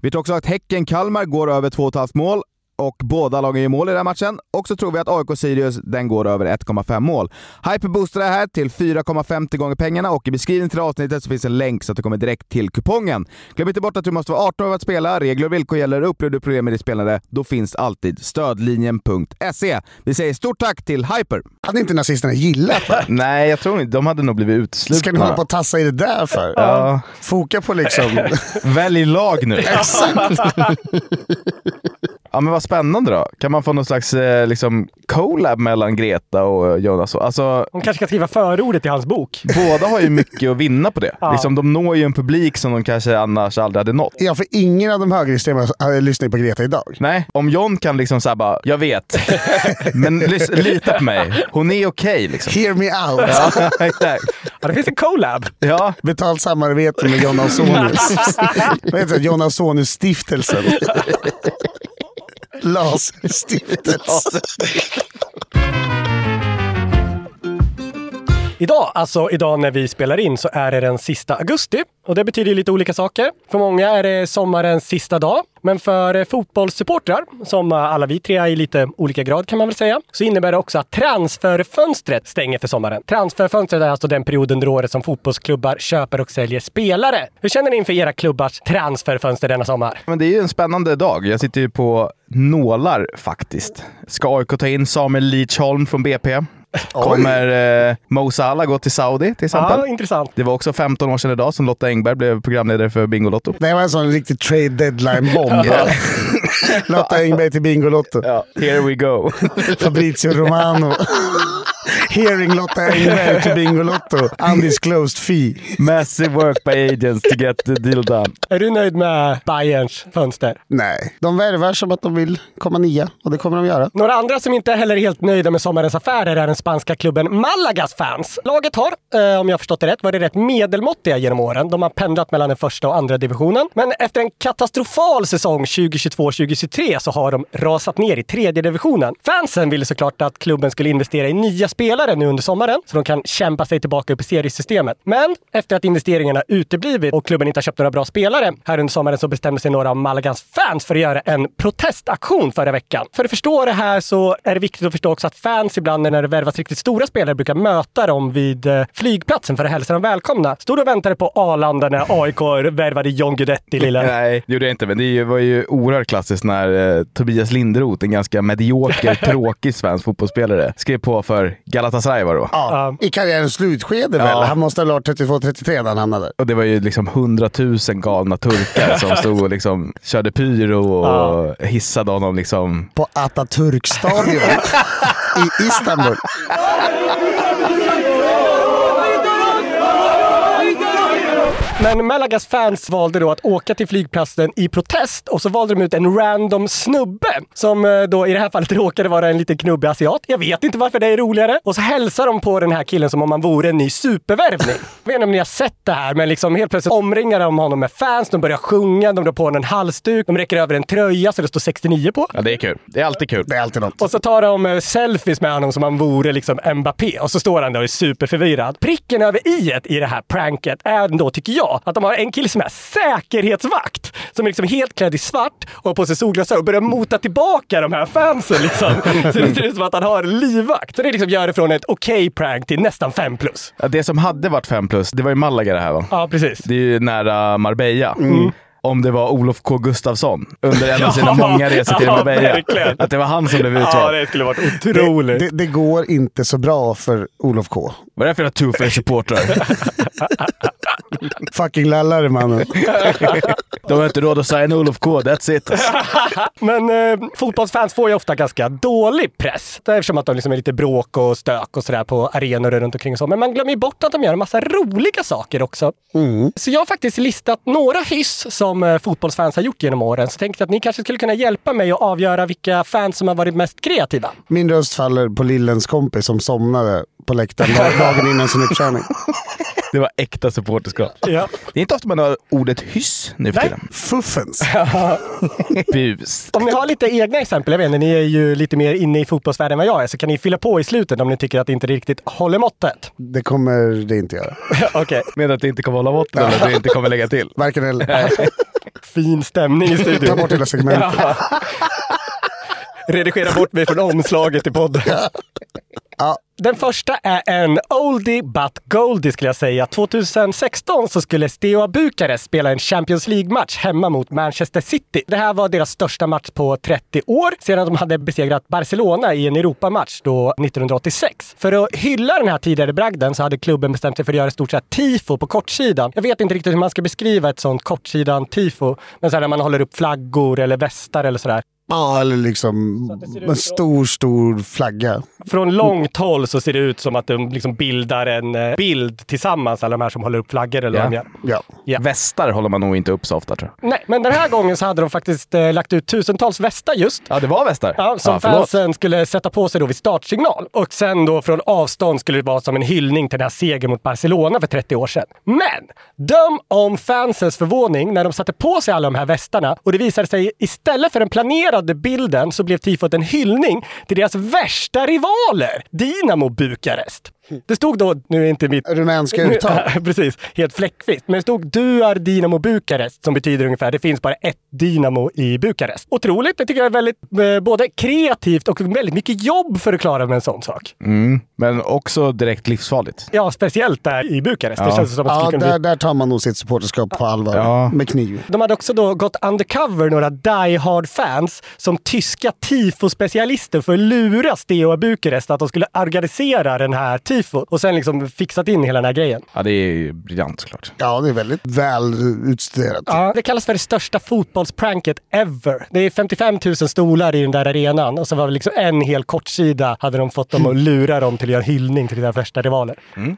Speaker 2: Vi tror också att Häcken-Kalmar går över 2,5 mål och båda lagen gör mål i den här matchen. Och så tror vi att AIK-Sirius den går över 1,5 mål. Hyper boostar det här till 4,50 gånger pengarna och i beskrivningen till det här avsnittet så finns en länk så att du kommer direkt till kupongen. Glöm inte bort att du måste vara 18 år för att spela. Regler och villkor gäller. Upplever du problem med din spelare, då finns alltid stödlinjen.se. E. Vi säger stort tack till Hyper!
Speaker 3: Hade inte nazisterna gillat va?
Speaker 2: Nej, jag tror inte. De hade nog blivit uteslutna.
Speaker 3: Ska ni hålla på och tassa i det där för?
Speaker 2: Ja.
Speaker 3: Foka på liksom...
Speaker 2: <laughs> Välj lag
Speaker 3: <laughs>
Speaker 2: nu! <laughs> Ja men vad spännande då. Kan man få någon slags eh, liksom, collab mellan Greta och eh, Jonas? Alltså,
Speaker 1: Hon kanske ska skriva förordet i hans bok.
Speaker 2: båda har ju mycket att vinna på det. Liksom, de når ju en publik som de kanske annars aldrig hade nått.
Speaker 3: Ja, för ingen av de högerextrema eh, lyssnar ju på Greta idag.
Speaker 2: Nej, om John kan liksom såhär bara, jag
Speaker 3: <laughs>
Speaker 2: vet, men lys- lita på mig. Hon är okej
Speaker 3: <laughs>
Speaker 2: liksom. <laughs>
Speaker 3: Hear me out.
Speaker 2: Ja, exakt.
Speaker 1: Ja, det finns en collab.
Speaker 2: Ja,
Speaker 3: Betalt samarbete med
Speaker 2: <laughs>
Speaker 3: John Ausonius. Vad heter det? John Ausonius-stiftelsen. LAS-stiftelsen.
Speaker 1: Idag, alltså idag när vi spelar in, så är det den sista augusti. Och det betyder ju lite olika saker. För många är det sommarens sista dag. Men för eh, fotbollssupportrar, som eh, alla vi tre är i lite olika grad kan man väl säga, så innebär det också att transferfönstret stänger för sommaren. Transferfönstret är alltså den period under året som fotbollsklubbar köper och säljer spelare. Hur känner ni inför era klubbars transferfönster denna sommar?
Speaker 2: men det är ju en spännande dag. Jag sitter ju på nålar faktiskt. Ska AIK ta in Samuel Leachholm från BP? Kommer eh, Mo Salah gå till Saudi till exempel?
Speaker 1: Ja, intressant.
Speaker 2: Det var också 15 år sedan idag som Lotta Engberg blev programledare för Bingolotto.
Speaker 3: Det här var en sån riktig trade deadline-bomb. Lotta Engberg till Bingolotto.
Speaker 2: Ja, here we go.
Speaker 3: Fabrizio Romano. Hearing Lotta Engberg till Bingolotto. Undisclosed fee.
Speaker 2: Massive work by agents to get the deal done.
Speaker 1: Är du nöjd med Bayerns fönster?
Speaker 3: Nej, de värvar som att de vill komma nia och det kommer de göra.
Speaker 1: Några andra som inte heller är helt nöjda med sommarens affärer är den spanska klubben Malagas fans. Laget har, eh, om jag har förstått det rätt, varit rätt medelmåttiga genom åren. De har pendlat mellan den första och andra divisionen. Men efter en katastrofal säsong 2022-2023 så har de rasat ner i tredje divisionen. Fansen ville såklart att klubben skulle investera i nya spelare nu under sommaren så de kan kämpa sig tillbaka upp i seriesystemet. Men efter att investeringarna uteblivit och klubben inte har köpt några bra spelare här under sommaren så bestämde sig några av Malagans fans för att göra en protestaktion förra veckan. För att förstå det här så är det viktigt att förstå också att fans ibland när det värvas riktigt stora spelare brukar möta dem vid eh, flygplatsen för att hälsa dem välkomna. Stod och väntade på Arlanda när AIK värvade John Guidetti,
Speaker 2: <laughs>
Speaker 1: lilla.
Speaker 2: Nej, det gjorde jag inte, men det är ju- var ju oerhört klassiskt när eh, Tobias Linderoth, en ganska medioker, tråkig svensk fotbollsspelare, skrev på för Galatasaray var det va?
Speaker 3: Ja, I karriärens slutskede väl?
Speaker 2: Ja.
Speaker 3: Han måste ha varit 32-33 när han hamnade där.
Speaker 2: Och det var ju liksom hundratusen galna turkar <laughs> som stod och liksom körde pyro och hissade honom liksom.
Speaker 3: På Atatürk-stadion i Istanbul.
Speaker 1: Men Malagas fans valde då att åka till flygplatsen i protest och så valde de ut en random snubbe som eh, då i det här fallet <laughs> råkade vara en liten knubbig asiat. Jag vet inte varför det är roligare. Och så hälsar de på den här killen som om han vore en ny supervärvning. Jag vet inte om ni har sett det här, men liksom helt plötsligt omringar de honom med fans. De börjar sjunga, de drar på honom en halsduk, de räcker över en tröja så det står 69 på.
Speaker 2: Ja, det är kul. Det är alltid kul.
Speaker 3: Det är alltid något.
Speaker 1: Och så tar de eh, selfies med honom som om han vore liksom Mbappé och så står han där och är superförvirrad. Pricken över i i det här pranket är då, tycker jag, att de har en kille som är säkerhetsvakt som är liksom helt klädd i svart och har på sig solglasögon och börjar mota tillbaka de här fansen.
Speaker 3: <laughs>
Speaker 1: Liksom. Så det ser ut som att han har en livvakt. Så det liksom gör det från ett okej prank till nästan 5 plus.
Speaker 2: Ja, det som hade varit 5 plus, det var ju Malaga det här va?
Speaker 1: Ja, precis.
Speaker 2: Det är ju nära Marbella. Om det var Olof K Gustafsson under en av <laughs> sina
Speaker 1: Ja,
Speaker 2: många resor till
Speaker 1: ja,
Speaker 2: Marbella.
Speaker 1: verkligen.
Speaker 2: Att det var han som blev
Speaker 1: Ja,
Speaker 2: utvald.
Speaker 1: det skulle varit otroligt.
Speaker 3: Det, det går inte så bra för Olof K.
Speaker 2: Vad är det för jävla two-face-supportrar?
Speaker 3: Fucking lallare mannen.
Speaker 2: De har inte råd att signa Olof K, that's <laughs> it.
Speaker 1: <laughs> Men eh, fotbollsfans får ju ofta ganska dålig press. Det är Eftersom att de liksom är lite bråk och stök och sådär på arenor och runt omkring och så. Men man glömmer ju bort att de gör en massa roliga saker också. Så jag har faktiskt listat några hyss som eh, fotbollsfans har gjort genom åren. Så tänkte jag att ni kanske skulle kunna hjälpa mig att avgöra vilka fans som har varit mest kreativa.
Speaker 3: Min röst faller på Lillens kompis som somnade på läktaren dag- dagen innan sin uppkörning.
Speaker 2: Det var äkta supporterskap.
Speaker 1: Ja.
Speaker 2: Det är inte ofta man hör ordet hyss nu för
Speaker 1: Nej.
Speaker 2: tiden.
Speaker 3: Fuffens.
Speaker 2: Bus.
Speaker 1: <laughs> Om ni har lite egna exempel, jag vet inte, ni är ju lite mer inne i fotbollsvärlden än vad jag är, så kan ni fylla på i slutet om ni tycker att det inte riktigt håller måttet.
Speaker 3: Det kommer det inte göra.
Speaker 1: Okej.
Speaker 2: Menar att det inte kommer hålla måttet eller att det inte kommer lägga till.
Speaker 3: Varken eller.
Speaker 1: Fin stämning i studion.
Speaker 3: Ta bort hela segmentet.
Speaker 1: Ja. Redigera bort mig från omslaget till podden. Den första är en oldie but goldie skulle jag säga. 2016 så skulle Steaua Bukarest spela en Champions League-match hemma mot Manchester City. Det här var deras största match på 30 år sedan de hade besegrat Barcelona i en Europamatch då 1986. För att hylla den här tidigare bragden så hade klubben bestämt sig för att göra ett stort så här tifo på kortsidan. Jag vet inte riktigt hur man ska beskriva ett sånt kortsidan-tifo, men så här när man håller upp flaggor eller västar eller sådär.
Speaker 3: Ja, eller liksom en stor, stor flagga.
Speaker 1: Från långt håll så ser det ut som att de liksom bildar en eh, bild tillsammans, alla de här som håller upp flaggor eller
Speaker 2: Ja.
Speaker 1: vad de gör.
Speaker 3: Ja.
Speaker 1: Ja.
Speaker 2: Västar håller man nog inte upp så ofta tror jag.
Speaker 1: Nej, men den här gången så hade de faktiskt eh, lagt ut tusentals västar just.
Speaker 2: Ja, det var västar.
Speaker 1: Ja, som
Speaker 2: förlåt.
Speaker 1: fansen skulle sätta på sig då vid startsignal. Och sen då från avstånd skulle det vara som en hyllning till den här segern mot Barcelona för 30 år sedan. Men! Döm om fansens förvåning när de satte på sig alla de här västarna och det visade sig istället för den planerade bilden så blev tifot en hyllning till deras värsta rivaler, Dinamo Bukarest. Det stod då, nu är inte mitt
Speaker 3: Rumänska uttal.
Speaker 1: Ja, <laughs> Precis, helt fläckfritt. Men det stod Duar Dinamo Bukarest som betyder ungefär det finns bara ett Dinamo i Bukarest. Otroligt, det tycker jag är väldigt eh, både kreativt och väldigt mycket jobb för att klara med en sån sak.
Speaker 3: Mm.
Speaker 2: Men också direkt livsfarligt.
Speaker 1: Ja, speciellt där i Bukarest. Det
Speaker 2: Ja.
Speaker 1: känns som att det
Speaker 3: Ja,
Speaker 1: skulle kunna
Speaker 3: där,
Speaker 1: bli...
Speaker 3: där tar man nog sitt supporterskap på allvar.
Speaker 2: Ja.
Speaker 3: Med kniv.
Speaker 1: De hade också då gått undercover, några die hard-fans, som tyska tifo-specialister för att lura Steaua Bukarest att de skulle organisera den här tifot och sen liksom fixat in hela den här grejen.
Speaker 2: Ja, det är ju briljant såklart.
Speaker 3: Ja, det är väldigt väl utstuderat.
Speaker 1: Ja, det kallas för det största fotbollspranket ever. Det är 55 000 stolar i den där arenan och så var det liksom en hel kortsida hade de fått dem att lura dem till att göra en hyllning till deras värsta rivaler.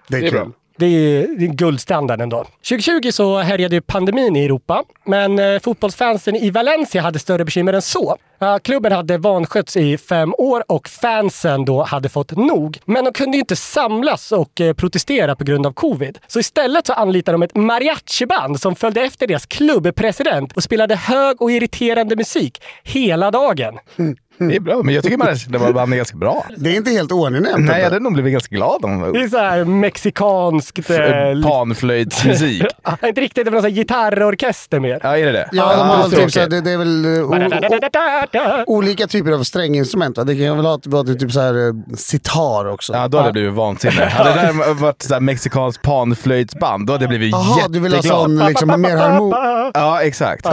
Speaker 3: Det är kul.
Speaker 1: Det är, det är guldstandard ändå. 2020 så härjade ju pandemin i Europa, men eh, fotbollsfansen i Valencia hade större bekymmer än så. Ja, klubben hade vanskötts i fem år och fansen då hade fått nog. Men de kunde ju inte samlas och eh, protestera på grund av covid. Så istället så anlitade de ett mariachiband som följde efter deras klubbpresident och spelade hög och irriterande musik hela dagen.
Speaker 3: Mm.
Speaker 2: Det är bra, men jag tycker man det var band är ganska bra.
Speaker 3: Det är inte helt oangenämt.
Speaker 2: Nej, jag
Speaker 3: ändå.
Speaker 2: hade nog blivit ganska glad om
Speaker 1: Det är så här mexikanskt... eh,
Speaker 2: F- panflöjtsmusik.
Speaker 1: Ja, inte riktigt, det var någon sån här gitarrorkester mer.
Speaker 2: Ja, är det det?
Speaker 3: Ja, de
Speaker 2: Ah,
Speaker 3: har typ
Speaker 2: tråkigt.
Speaker 3: så här, det, det är väl eh, o, o, olika typer av stränginstrument. Va? Det kan väl ha vara typ så här eh, sitar också.
Speaker 2: Ja, då hade jag blivit vansinnig. Hade det där varit så här mexikanskt panflöjtsband, då hade jag blivit
Speaker 3: Jaha,
Speaker 2: jätteglad.
Speaker 3: du vill ha sån liksom, mer harmon...
Speaker 2: Ja, exakt.
Speaker 3: Ah.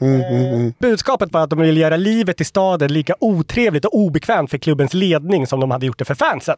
Speaker 2: Ja.
Speaker 1: Budskapet var att de ville göra livet i staden lika otrevligt och obekvämt för klubbens ledning som de hade gjort det för fansen.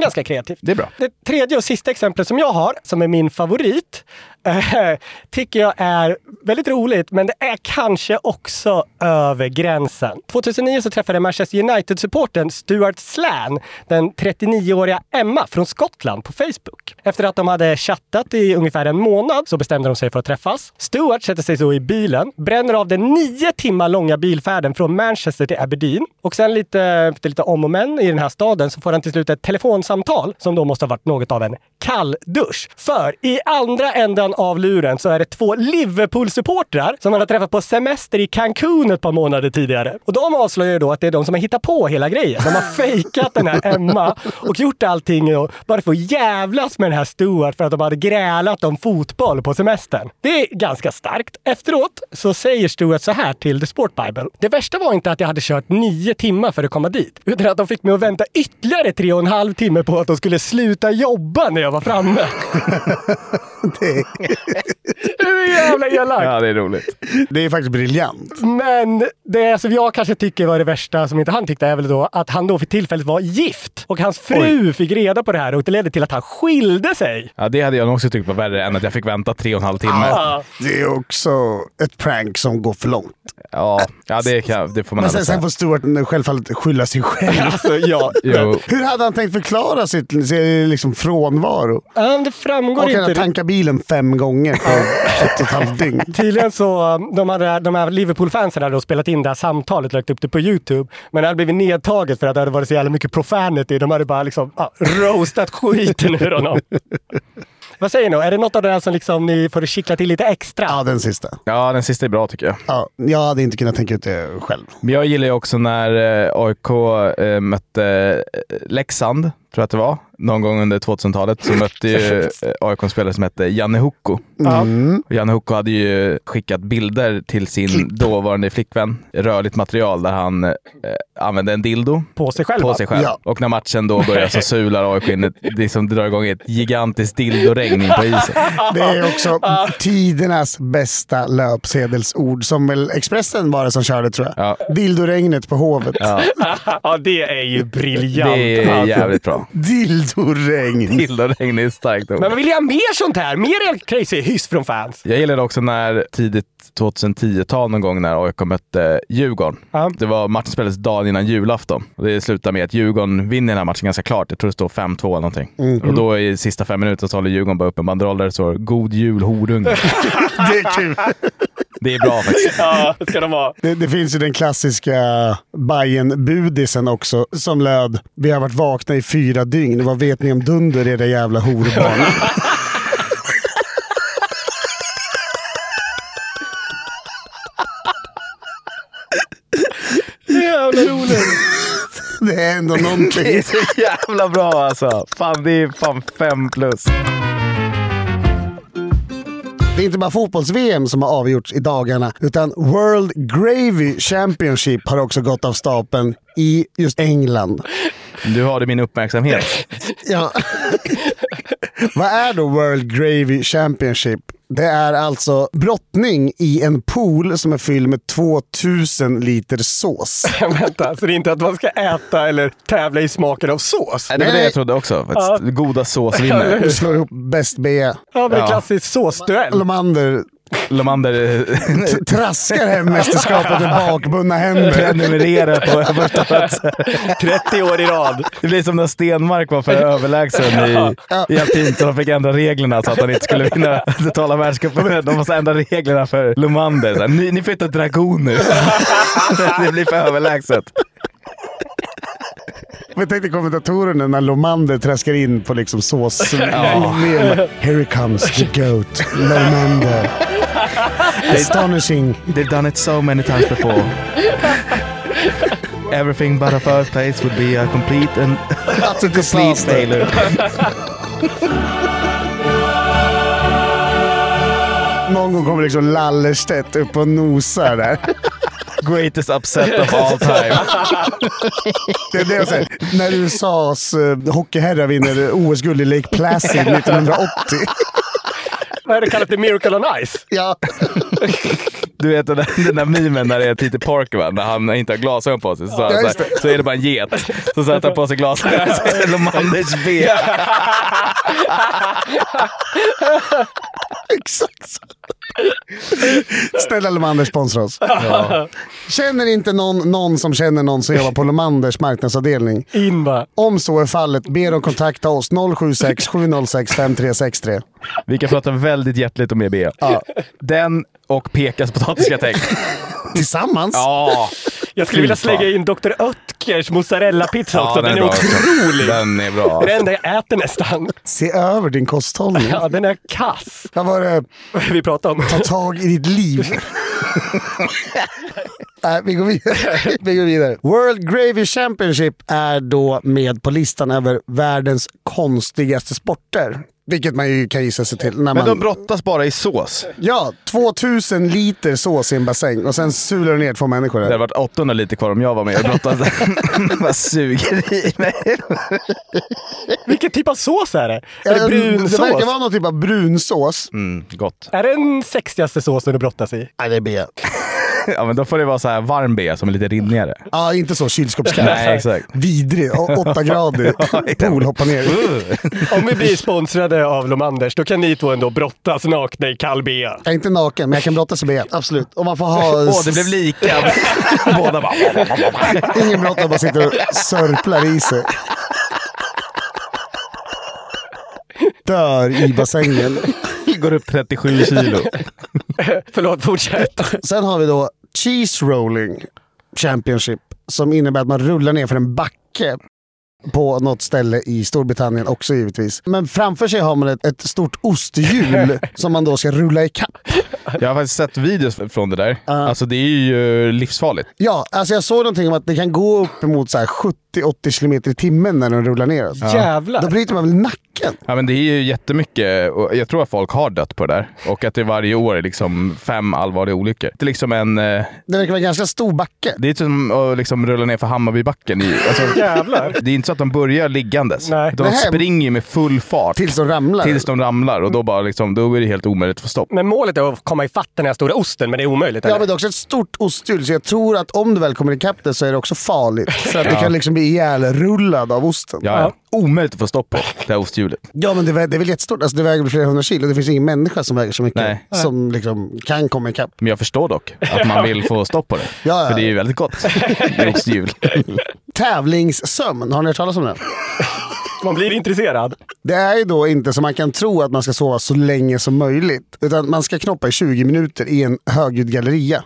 Speaker 1: Ganska kreativt.
Speaker 2: Mm. Det är bra.
Speaker 1: Det tredje och sista exemplet som jag har, som är min favorit, eh, tycker jag är väldigt roligt, men det är kanske också över gränsen. 2009 så träffade Manchester United-supporten Stuart Slan den 39-åriga Emma från Skottland på Facebook. Efter att de hade chattat i ungefär en månad så bestämde de sig för att träffas. Stuart sätter sig så i bilen, bränner av den nio timmar långa bilfärden från Manchester till Aberdeen och sen lite, efter lite om och men i den här staden så får han till slut ett telefonsamtal som då måste ha varit något av en kalldusch. För i andra änden av luren så är det två Liverpool-supportrar som han har träffat på semester i Cancun ett par månader tidigare. Och de avslöjar ju då att det är de som har hittat på hela grejen. De har fejkat den här Emma och gjort allting och bara för att jävlas med den här Stuart för att de hade grälat om fotboll på semestern. Det är ganska starkt. Efteråt så säger Stuart så här till The Sport Bible. Det värsta var inte att jag hade kört nio timmar för att komma dit, utan att de fick mig att vänta ytterligare tre och en halv timme på att de skulle sluta jobba när jag var framme. det är jävla elakt.
Speaker 2: Ja, det är roligt.
Speaker 3: <laughs> Det är faktiskt briljant.
Speaker 1: Men det som jag kanske tycker var det värsta, som inte han tyckte, är väl då att han då för tillfället var gift. Och hans fru fick reda på det här och det ledde till att han skilde sig.
Speaker 2: Ja, det hade jag nog också tyckt var värre än att jag fick vänta tre och en halv timme.
Speaker 1: Ja.
Speaker 3: Det är också ett prank som går för långt.
Speaker 2: Ja, ja det, kan, det får man ändå
Speaker 3: Men sen, sen
Speaker 2: säga.
Speaker 3: får Stuart självfallet skylla
Speaker 2: <laughs>
Speaker 3: sig själv.
Speaker 1: Alltså, ja.
Speaker 2: Jo.
Speaker 3: Hur hade han tänkt förklara sitt sin, liksom, frånvaro?
Speaker 1: Ja, men Det framgår
Speaker 3: Och
Speaker 1: inte.
Speaker 3: kan han tanka bilen fem gånger på ett och ett halvt dygn?
Speaker 1: Tydligen så, um, de, hade, de här Liverpool-fansen hade då spelat in det här samtalet och lagt upp det på YouTube. Men det hade blivit nedtaget för att det hade varit så jävla mycket profanity. De hade bara liksom ah, roastat skiten ur <laughs> honom. Vad säger ni? Är det något av det här som liksom ni får kittla till lite extra?
Speaker 3: Ja, den sista.
Speaker 2: Ja, den sista är bra tycker jag.
Speaker 3: Ja, jag hade inte kunnat tänka ut det själv.
Speaker 2: Men jag gillar ju också när eh, AIK eh, mötte eh, Leksand, tror jag att det var, någon gång under 2000-talet så mötte ju eh, AIK en spelare som hette Janne Hucko. Och Janne Hucko hade ju skickat bilder till sin dåvarande flickvän, rörligt material där han eh, använde en dildo
Speaker 1: På sig själv
Speaker 2: på
Speaker 1: va?
Speaker 2: sig själv.
Speaker 3: Ja.
Speaker 2: Och när matchen då börjar så sular AIK in, ett, liksom drar igång ett gigantiskt dildoregn in på <laughs> isen.
Speaker 3: Det är också tidernas bästa löpsedelsord, som väl Expressen var det som körde tror jag.
Speaker 2: Ja.
Speaker 3: Dildoregnet på Hovet.
Speaker 1: <laughs> Ja, det är ju briljant.
Speaker 2: Det är
Speaker 1: alltså.
Speaker 2: jävligt bra.
Speaker 3: Dildoregn.
Speaker 2: Dildoregn är ett starkt ord.
Speaker 1: Men man vill ju ha mer sånt här. Mer crazy hyss från fans.
Speaker 2: Jag gillade också när tidigt 2010-tal någon gång när AIK mötte Djurgården.
Speaker 1: Ja.
Speaker 2: Det var matchen spelades dagen innan julafton. Och det slutar med att Djurgården vinner den här matchen ganska klart. Jag tror det står 5-2 eller någonting. Och då i sista fem minuterna så håller Djurgården bara upp en banderoll där det står “God jul <laughs> horunge”.
Speaker 3: Det är kul.
Speaker 2: det är bra faktiskt.
Speaker 1: Ja, det ska de vara.
Speaker 3: Det, det finns ju den klassiska Bajen-budisen också, som löd “Vi har varit vakna i fyra dygn. Vad vet ni om dunder, era
Speaker 2: <laughs>
Speaker 3: jävla horbarn?”
Speaker 1: Jävla <laughs> roligt.
Speaker 3: Det är ändå
Speaker 2: <laughs> Det är
Speaker 3: någonting.
Speaker 2: så jävla bra alltså. Fan, det är fan fem plus.
Speaker 3: Det är inte bara fotbolls-VM som har avgjorts i dagarna, utan World Gravy Championship har också gått av stapeln i just England.
Speaker 2: Du har det min <laughs> uppmärksamhet.
Speaker 3: Ja. <laughs> Vad är då World Gravy Championship? Det är alltså brottning i en pool som är fylld med 2000 liter sås.
Speaker 1: Vänta, så det är inte att man ska äta eller tävla i smaken av sås?
Speaker 2: Nej, Det var det
Speaker 3: Nej.
Speaker 2: jag trodde också. faktiskt. Goda sås <laughs> vinner.
Speaker 3: Du slår ihop bäst B.
Speaker 1: Ja, men
Speaker 2: Ja.
Speaker 1: en klassisk såsduell.
Speaker 3: Lomander
Speaker 2: Lomander eh,
Speaker 3: t- traskar hem mästerskapet med bakbundna händer.
Speaker 2: prenumerera
Speaker 1: <laughs>
Speaker 2: på första plats.
Speaker 1: 30 år i rad.
Speaker 2: Det blir som när Stenmark var för överlägsen i, i alpint och de fick ändra reglerna så att han inte skulle vinna totala världscupen. De måste ändra reglerna för Lomander. Så här, Ni, ni får inte dragon nu. <laughs> Det blir för överlägset.
Speaker 3: Jag tänkte kommentatorerna när Lomander traskar in på liksom sås. <laughs> Here comes the goat, Lomander. Astonishing.
Speaker 2: They've done it so many times before. Everything but a first place would be a complete and
Speaker 3: Alltså,
Speaker 2: complete failure.
Speaker 3: Någon gång kommer liksom Lallerstedt upp och nosar där.
Speaker 2: Greatest upset of all time.
Speaker 3: Det är det jag säger. När USAs eh, hockeyherrar vinner OS-guld i Lake Placid 1980.
Speaker 1: Vad är det kallat? The Miracle on Ice?
Speaker 3: Ja.
Speaker 2: Du vet den där, den där memen när det är Peter Parker va? När han inte har glasögon på sig. Så, sa han
Speaker 3: Ja,
Speaker 2: så,
Speaker 3: just
Speaker 2: här, så är det bara en get. Så sätter han på sig glasögon <laughs> så är det Lomanders ben.
Speaker 3: <laughs> Exakt så. Snälla Lomander, sponsra oss. Känner inte någon någon som känner någon som jobbar på Lomanders marknadsavdelning?
Speaker 1: In bara.
Speaker 3: Om så är fallet, ber dem kontakta oss 076 706 5363.
Speaker 2: Vi kan prata väldigt hjärtligt om EBE. Den och Pekas potatisgratäng.
Speaker 3: Tillsammans?
Speaker 2: Ja,
Speaker 1: Jag skulle vilja
Speaker 2: Fy fan.
Speaker 1: slänga in Dr. Oetkers mozzarella-pizza också. den, är
Speaker 2: bra.
Speaker 1: otrolig.
Speaker 2: Den är bra.
Speaker 1: Det är det enda jag äter nästan.
Speaker 3: Se över din kosthållning.
Speaker 1: Ja, den är kass.
Speaker 3: Vad var det?
Speaker 1: Vi pratar om.
Speaker 3: Ta tag i ditt liv. Nej, vi går vidare. vi går vidare. World Gravy Championship är då med på listan över världens konstigaste sporter. Vilket man ju kan gissa sig till. När
Speaker 2: Men de
Speaker 3: man,
Speaker 2: brottas bara i sås.
Speaker 3: ja, 2000 liter sås i en bassäng och sen sular det ner två människor.
Speaker 2: Det hade
Speaker 3: Där.
Speaker 2: varit 800 liter kvar om jag var med och brottades. <laughs> Vad suger i mig.
Speaker 1: Vilken typ av sås är det? Är
Speaker 3: Ja,
Speaker 1: det brun
Speaker 3: det verkar
Speaker 1: sås?
Speaker 3: vara någon typ av brunsås.
Speaker 2: Mm, gott.
Speaker 1: Är det den sexigaste såsen du brottas i?
Speaker 3: Nej, det är B.
Speaker 2: Ja, men då får det vara så här varm bea som är lite rinnigare.
Speaker 3: Ja, inte så
Speaker 2: <laughs>
Speaker 3: kylskåpskallt.
Speaker 2: Nej, exakt.
Speaker 3: Vidrig. Å- Åtta
Speaker 2: <laughs>
Speaker 3: grader. Pool hoppa ner.
Speaker 2: Uh.
Speaker 1: Om vi blir sponsrade av Lomanders, då kan ni två ändå brottas nakna i kall bea.
Speaker 3: Jag är inte naken, men jag kan brottas i B. Absolut. Och man får ha...
Speaker 2: Åh, det blev lika. <laughs> Båda bara...
Speaker 3: Ingen brottar, bara sitter och sörplar i sig. Dör i bassängen.
Speaker 2: <laughs> Går upp 37 kilo.
Speaker 1: Förlåt, fortsätt.
Speaker 3: Sen har vi då Cheese Rolling Championship, som innebär att man rullar ner för en backe. på något ställe i Storbritannien också givetvis. Men framför sig har man ett, ett stort
Speaker 2: <laughs>
Speaker 3: osthjul som man då ska rulla ikapp.
Speaker 2: Jag har faktiskt sett videos från det där. Alltså det är ju eh, livsfarligt.
Speaker 3: Ja, alltså jag såg någonting om att det kan gå upp emot så här 70-80 km i timmen när den rullar neråt. Då
Speaker 1: Jävlar!
Speaker 3: bryter man väl nacken?
Speaker 2: Ja, men det är ju jättemycket, och jag tror att folk har dött på det där. Och att det varje år är liksom fem allvarliga olyckor. Det är liksom en... eh,
Speaker 3: Det verkar vara en ganska stor backe.
Speaker 2: Det är som att liksom rulla ner för Hammarbybacken. I, alltså,
Speaker 1: Jävlar!
Speaker 2: det är inte så att de börjar liggandes.
Speaker 1: Nej.
Speaker 2: Utan de
Speaker 3: Det här-
Speaker 2: springer ju med full fart.
Speaker 3: Tills de ramlar.
Speaker 2: Tills de ramlar och då, bara liksom, då är det helt omöjligt att få stopp.
Speaker 1: Men målet är att komma ifatt den här stora osten, men det är omöjligt.
Speaker 3: Ja,
Speaker 1: Eller?
Speaker 3: men det är också ett stort osthjul, så jag tror att om du väl kommer ikapp det så är det
Speaker 2: <laughs>
Speaker 3: också farligt. För att du kan liksom bli ihjälrullad av osten.
Speaker 2: Ja, ja. Omöjligt att få stopp på det här osthjulet.
Speaker 3: Ja, men det, vä- det är väl jättestort. Alltså, det väger väl flera hundra kilo. Det finns ingen människa som väger så mycket
Speaker 2: Nej.
Speaker 3: som liksom kan komma ikapp.
Speaker 2: Men jag förstår dock att man vill få stopp på det.
Speaker 3: Ja, ja.
Speaker 2: För det är ju väldigt gott. Det är
Speaker 3: <laughs>
Speaker 2: osthjul.
Speaker 3: Tävlingssömn, har ni hört talas om det?
Speaker 1: Man blir intresserad.
Speaker 3: Det är ju då inte som man kan tro att man ska sova så länge som möjligt. Utan man ska knoppa i 20 minuter i en högljudd galleria.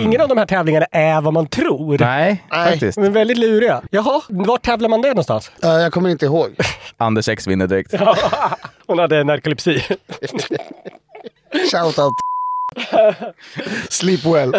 Speaker 1: Ingen av de här tävlingarna är vad man tror.
Speaker 2: Nej,
Speaker 3: Nej.
Speaker 2: faktiskt.
Speaker 1: Men väldigt luriga. Jaha, var tävlar man det <laughs> någonstans?
Speaker 3: Eh, jag kommer inte ihåg.
Speaker 2: Anders X vinner direkt.
Speaker 1: Hon hade narkolepsi.
Speaker 3: Shout out. Sleep well.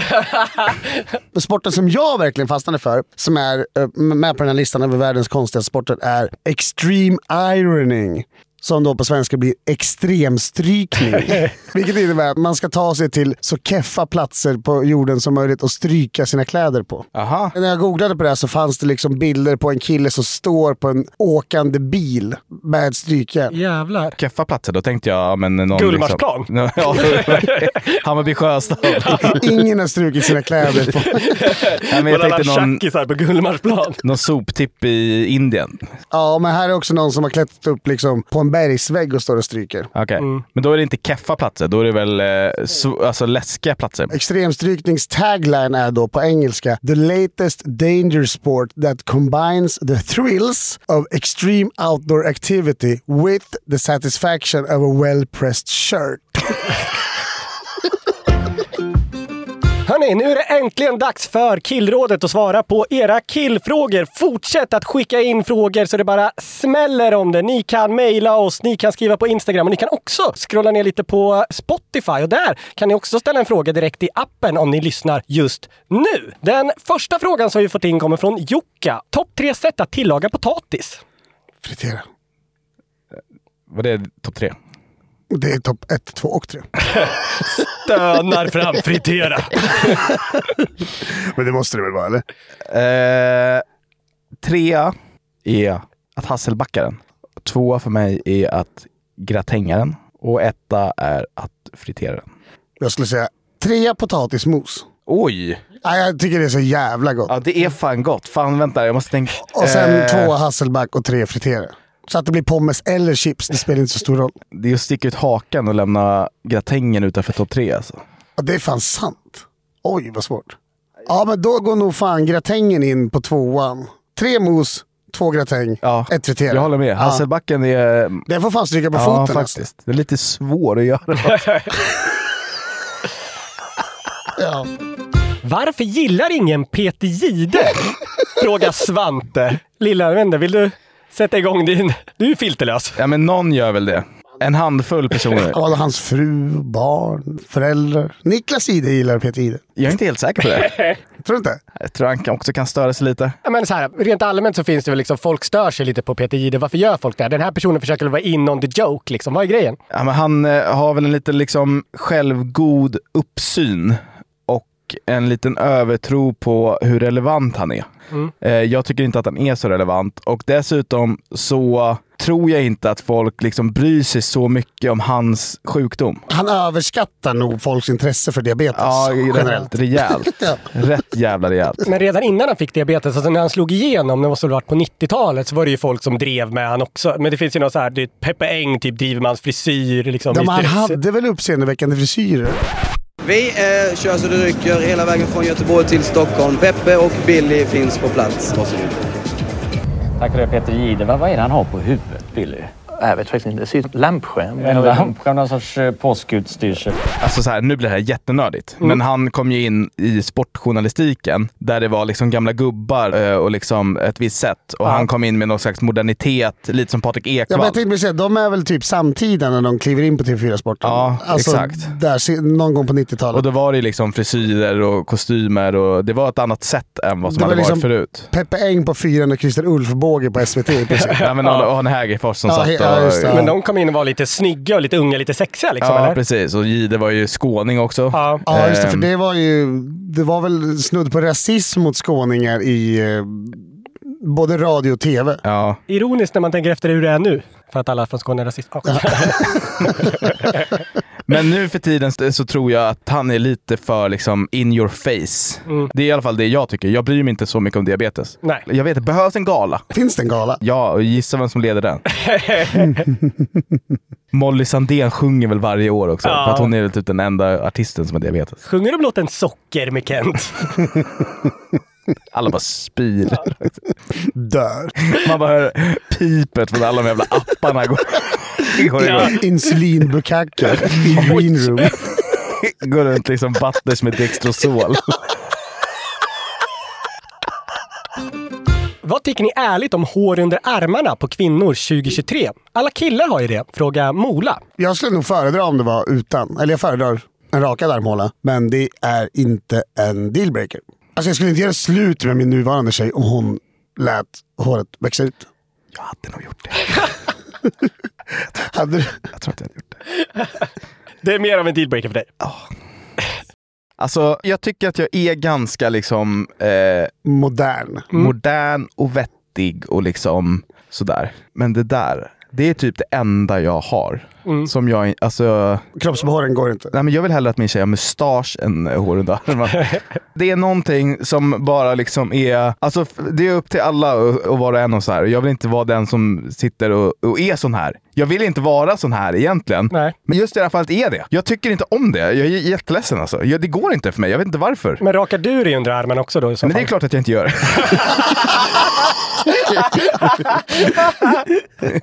Speaker 3: Sporten som jag verkligen fastnade för, som är eh, med på den här listan över världens konstigaste sporter, är extreme ironing. Som då på svenska blir extremstrykning. <laughs> Vilket innebär att man ska ta sig till så keffa platser på jorden som möjligt och stryka sina kläder på.
Speaker 2: Aha.
Speaker 3: När jag googlade på det här så fanns det liksom bilder på en kille som står på en åkande bil med ett strykjärn.
Speaker 1: Jävlar.
Speaker 2: Keffa platser, då tänkte jag... ja, Men någon
Speaker 1: Gullmarsplan.
Speaker 2: Liksom, ja, <laughs> Hammarby Sjöstad.
Speaker 3: Ingen har strukit sina kläder på.
Speaker 2: Nej, men jag
Speaker 1: Men alla
Speaker 2: tänkte någon,
Speaker 1: tjackisar på Gullmarsplan.
Speaker 2: någon soptipp i Indien.
Speaker 3: Ja, men här är också någon som har klättrat upp liksom på en bergsvägg och står och stryker.
Speaker 2: Okej. Men då är det inte keffa platser, då är det väl eh, so- alltså läskiga platser.
Speaker 3: Extremstryknings tagline är då på engelska “The latest danger sport that combines the thrills of extreme outdoor activity with the satisfaction of a well-pressed shirt”.
Speaker 1: Hörni, nu är det äntligen dags för killrådet att svara på era killfrågor. Fortsätt att skicka in frågor så det bara smäller om det. Ni kan mejla oss, ni kan skriva på Instagram och ni kan också scrolla ner lite på Spotify och där kan ni också ställa en fråga direkt i appen om ni lyssnar just nu. Den första frågan som vi fått in kommer från Jukka. Topp tre sätt att tillaga potatis.
Speaker 3: Fritera.
Speaker 2: Vad är det? Topp tre?
Speaker 3: Det är topp ett, två och tre.
Speaker 1: Stönar fram fritera.
Speaker 3: <laughs> Men det måste det väl vara, eller?
Speaker 2: Eh, trea är att hasselbacka den. Tvåa för mig är att gratänga den. Och etta är att fritera den.
Speaker 3: Jag skulle säga trea potatismos.
Speaker 2: Oj!
Speaker 3: Ja, jag tycker det är så jävla gott.
Speaker 2: Ja, det är fan gott. Fan, vänta. Jag måste tänka.
Speaker 3: Och sen
Speaker 2: Eh,
Speaker 3: två hasselback och tre fritera. Så att det blir pommes eller chips, det spelar inte så stor roll.
Speaker 2: Det är att sticka ut hakan och lämna gratängen utanför topp tre alltså.
Speaker 3: Ja, det är fan sant. Oj, vad svårt. Ja, men då går nog fan gratängen in på tvåan. Tre mos, två gratäng,
Speaker 2: Ja,
Speaker 3: ett fritera.
Speaker 2: Jag håller med. Hasselbacken är...
Speaker 3: Den får fan stryka på
Speaker 2: Ja,
Speaker 3: foten. alltså.
Speaker 2: faktiskt. Det är lite svår att <laughs> göra.
Speaker 3: Ja.
Speaker 1: Varför gillar ingen Peter Jihde? Frågar Svante. Lilla vänner, vill du sätta igång din... Du är filterlös.
Speaker 2: ja, men någon gör väl det. En handfull personer.
Speaker 3: Ja, och hans fru, barn, föräldrar. Niklas Ide gillar Peter Ide.
Speaker 2: Jag är inte helt säker på <laughs> det.
Speaker 3: Tror du inte?
Speaker 2: Jag tror han kan- också kan störa sig lite.
Speaker 1: Ja, Men så här, rent allmänt så finns det väl liksom, folk stör sig lite på Peter Jihde. Varför gör folk det? här? Den här personen försöker väl vara in on the joke liksom. Vad är grejen?
Speaker 2: Ja, men han eh, har väl en liten liksom, självgod uppsyn och en liten övertro på hur relevant han är. Eh, jag tycker inte att han är så relevant och dessutom så tror jag inte att folk liksom bryr sig så mycket om hans sjukdom.
Speaker 3: Han överskattar nog folks intresse för diabetes.
Speaker 2: Ja,
Speaker 3: generellt.
Speaker 2: rätt rejält.
Speaker 3: Ja.
Speaker 2: Rätt jävla rejält.
Speaker 1: Men redan innan han fick diabetes, alltså när han slog igenom, det måste väl varit på 90-talet, så var det ju folk som drev med han också. Men det finns ju någon så här, det är Peppe Eng typ driver med hans frisyr. Liksom,
Speaker 3: De, han
Speaker 1: Lite-
Speaker 3: hade väl uppseendeväckande frisyrer?
Speaker 8: Vi eh, kör så det rycker hela vägen från Göteborg till Stockholm. Peppe och Billy finns på plats. Varsågod.
Speaker 9: Tack för det Peter Jihde. Vad vad är det han har på huvudet Billy? Äh, Jag vet faktiskt inte. Det ser ut som lampskärm.
Speaker 2: En lampskärm,
Speaker 9: någon sorts eh, påskgudstyrsel.
Speaker 2: Alltså så här, nu blir det här jättenördigt.
Speaker 3: Mm.
Speaker 2: Men han kom ju in i sportjournalistiken där det var liksom gamla gubbar eh, och liksom ett visst sätt. Och
Speaker 3: Ja.
Speaker 2: han kom in med någon slags modernitet, lite som Patrik
Speaker 3: Ja,
Speaker 2: Ekwall.
Speaker 3: men jag tänkte säga, de är väl typ samtida när de kliver in på TV4-sporten?
Speaker 2: Ja,
Speaker 3: alltså,
Speaker 2: exakt.
Speaker 3: Där, se- någon gång på 90-talet.
Speaker 2: Och då var det ju liksom frisyrer och kostymer och det var ett annat sätt än vad som
Speaker 3: Det var
Speaker 2: hade
Speaker 3: liksom
Speaker 2: varit
Speaker 3: <laughs>
Speaker 2: förut.
Speaker 3: Peppe Eng på fyran och Christer Ulfbåge på SVT.
Speaker 2: <laughs>
Speaker 3: i princip.
Speaker 2: ja, men och, och en Hägerfors som
Speaker 3: Ja,
Speaker 2: satt
Speaker 3: he-
Speaker 2: och...
Speaker 3: ja, just det, ja.
Speaker 1: Men de kom in och var lite snygga och lite unga, lite sexiga liksom,
Speaker 2: ja,
Speaker 1: eller?
Speaker 2: precis. Och Jihde var ju skåning också.
Speaker 1: Ja,
Speaker 3: Ja, just det. För
Speaker 2: Ehm,
Speaker 3: det var ju... Det var väl snudd på rasism mot skåningar i eh, både radio och tv.
Speaker 2: Ja.
Speaker 1: Ironiskt när man tänker efter hur det är nu. För att alla från Skåne är rasister. Ja.
Speaker 2: Men nu för tiden så tror jag att han är lite för liksom in your face.
Speaker 1: Mm.
Speaker 2: Det är i alla fall det jag tycker. Jag bryr mig inte så mycket om diabetes.
Speaker 1: Nej.
Speaker 2: Jag vet, behövs en gala?
Speaker 3: Finns det en gala?
Speaker 2: Ja, och gissa vem som leder
Speaker 1: <laughs>
Speaker 2: den. Molly Sandén sjunger väl varje år också?
Speaker 1: Ja.
Speaker 2: För att hon är väl typ den enda artisten som har diabetes.
Speaker 1: <laughs> Sjunger de låten Socker med Kent?
Speaker 2: Alla bara spyr.
Speaker 3: Dör.
Speaker 2: <laughs> Man bara hör pipet från alla de jävla apparna
Speaker 1: <laughs>
Speaker 2: går, går,
Speaker 3: Ja.
Speaker 2: igång.
Speaker 3: Insulinbukacker <laughs> i green room.
Speaker 2: går runt liksom butters med Dextrosol. <laughs>
Speaker 1: Vad tycker ni ärligt om hår under armarna på kvinnor 2023? Alla killar har ju det. Fråga Mola.
Speaker 3: Jag skulle nog föredra om det var utan. Eller jag föredrar en rakad armhåla. Men det är inte en dealbreaker. Alltså jag skulle inte göra slut med min nuvarande tjej om hon lät håret växa ut.
Speaker 2: Jag hade nog gjort det.
Speaker 3: Hade du?
Speaker 2: Jag tror att jag hade gjort det.
Speaker 1: Det är mer av en dealbreaker för dig.
Speaker 2: Alltså, jag tycker att jag är ganska liksom eh,
Speaker 3: Modern.
Speaker 2: modern och vettig och liksom sådär. Men det där, det är typ det enda jag har. Som jag, alltså,
Speaker 3: Kroppsbehåren går inte.
Speaker 2: nej men jag vill hellre att min tjej har mustasch än eh, hår under armarna. Det är någonting som bara liksom är, alltså f- det är upp till alla och, och var och en och så här. Jag vill inte vara den som sitter och, och är sån här. Jag vill inte vara sån här egentligen.
Speaker 1: Nej.
Speaker 2: Men just i det här fallet är det. Jag tycker inte om det. Jag är j- jätteledsen alltså. Jag, det går inte för mig. Jag vet inte varför.
Speaker 1: Men rakar du dig under armarna också då i så
Speaker 2: Men det är
Speaker 1: fall?
Speaker 2: klart att jag inte gör.
Speaker 3: <laughs>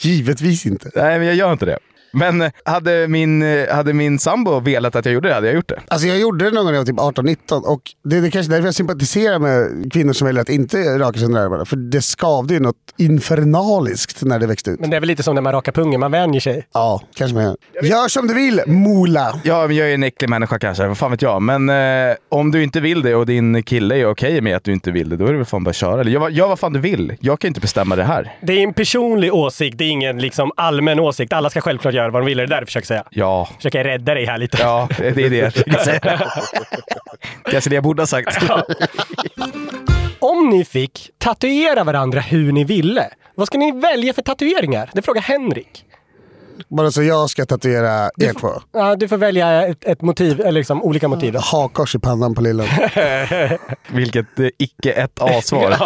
Speaker 3: Givetvis inte.
Speaker 2: <laughs> Nej, men jag gör inte det. Men eh, hade min, eh, hade min sambo velat att jag gjorde det hade jag gjort det.
Speaker 3: Alltså jag gjorde det någon gång när jag var typ 18-19 och det, det är kanske därför jag sympatiserar med kvinnor som väljer att inte raka sig under armarna. För det skavde ju något infernaliskt när det växte ut.
Speaker 1: Men det är väl lite som när man rakar pungen, man vänjer sig.
Speaker 3: Ja, kanske man gör. Gör som du vill, Mola!
Speaker 2: Ja, men jag är en äcklig människa kanske. Vad fan vet jag. Men eh, om du inte vill det och din kille är okej med att du inte vill det, då är det väl fan bara att köra. Eller gör, gör vad fan du vill. Jag kan ju inte bestämma det här.
Speaker 1: Det är en personlig åsikt, det är ingen liksom allmän åsikt. Alla ska självklart göra vad de vill, det är det där du försöker säga.
Speaker 2: Ja.
Speaker 1: Försöker rädda dig här lite.
Speaker 2: Ja, det är det jag försöker säga. <laughs> Kanske det jag borde ha sagt.
Speaker 1: Om ni fick tatuera varandra hur ni ville, vad ska ni välja för tatueringar? Det frågar Henrik.
Speaker 3: Bara så jag ska tatuera er två.
Speaker 1: Ja, du får välja ett, ett motiv, eller liksom olika motiv. Då.
Speaker 3: Hakkors i pannan
Speaker 1: <laughs>
Speaker 3: på lillen.
Speaker 2: Vilket eh, icke ett A-svar.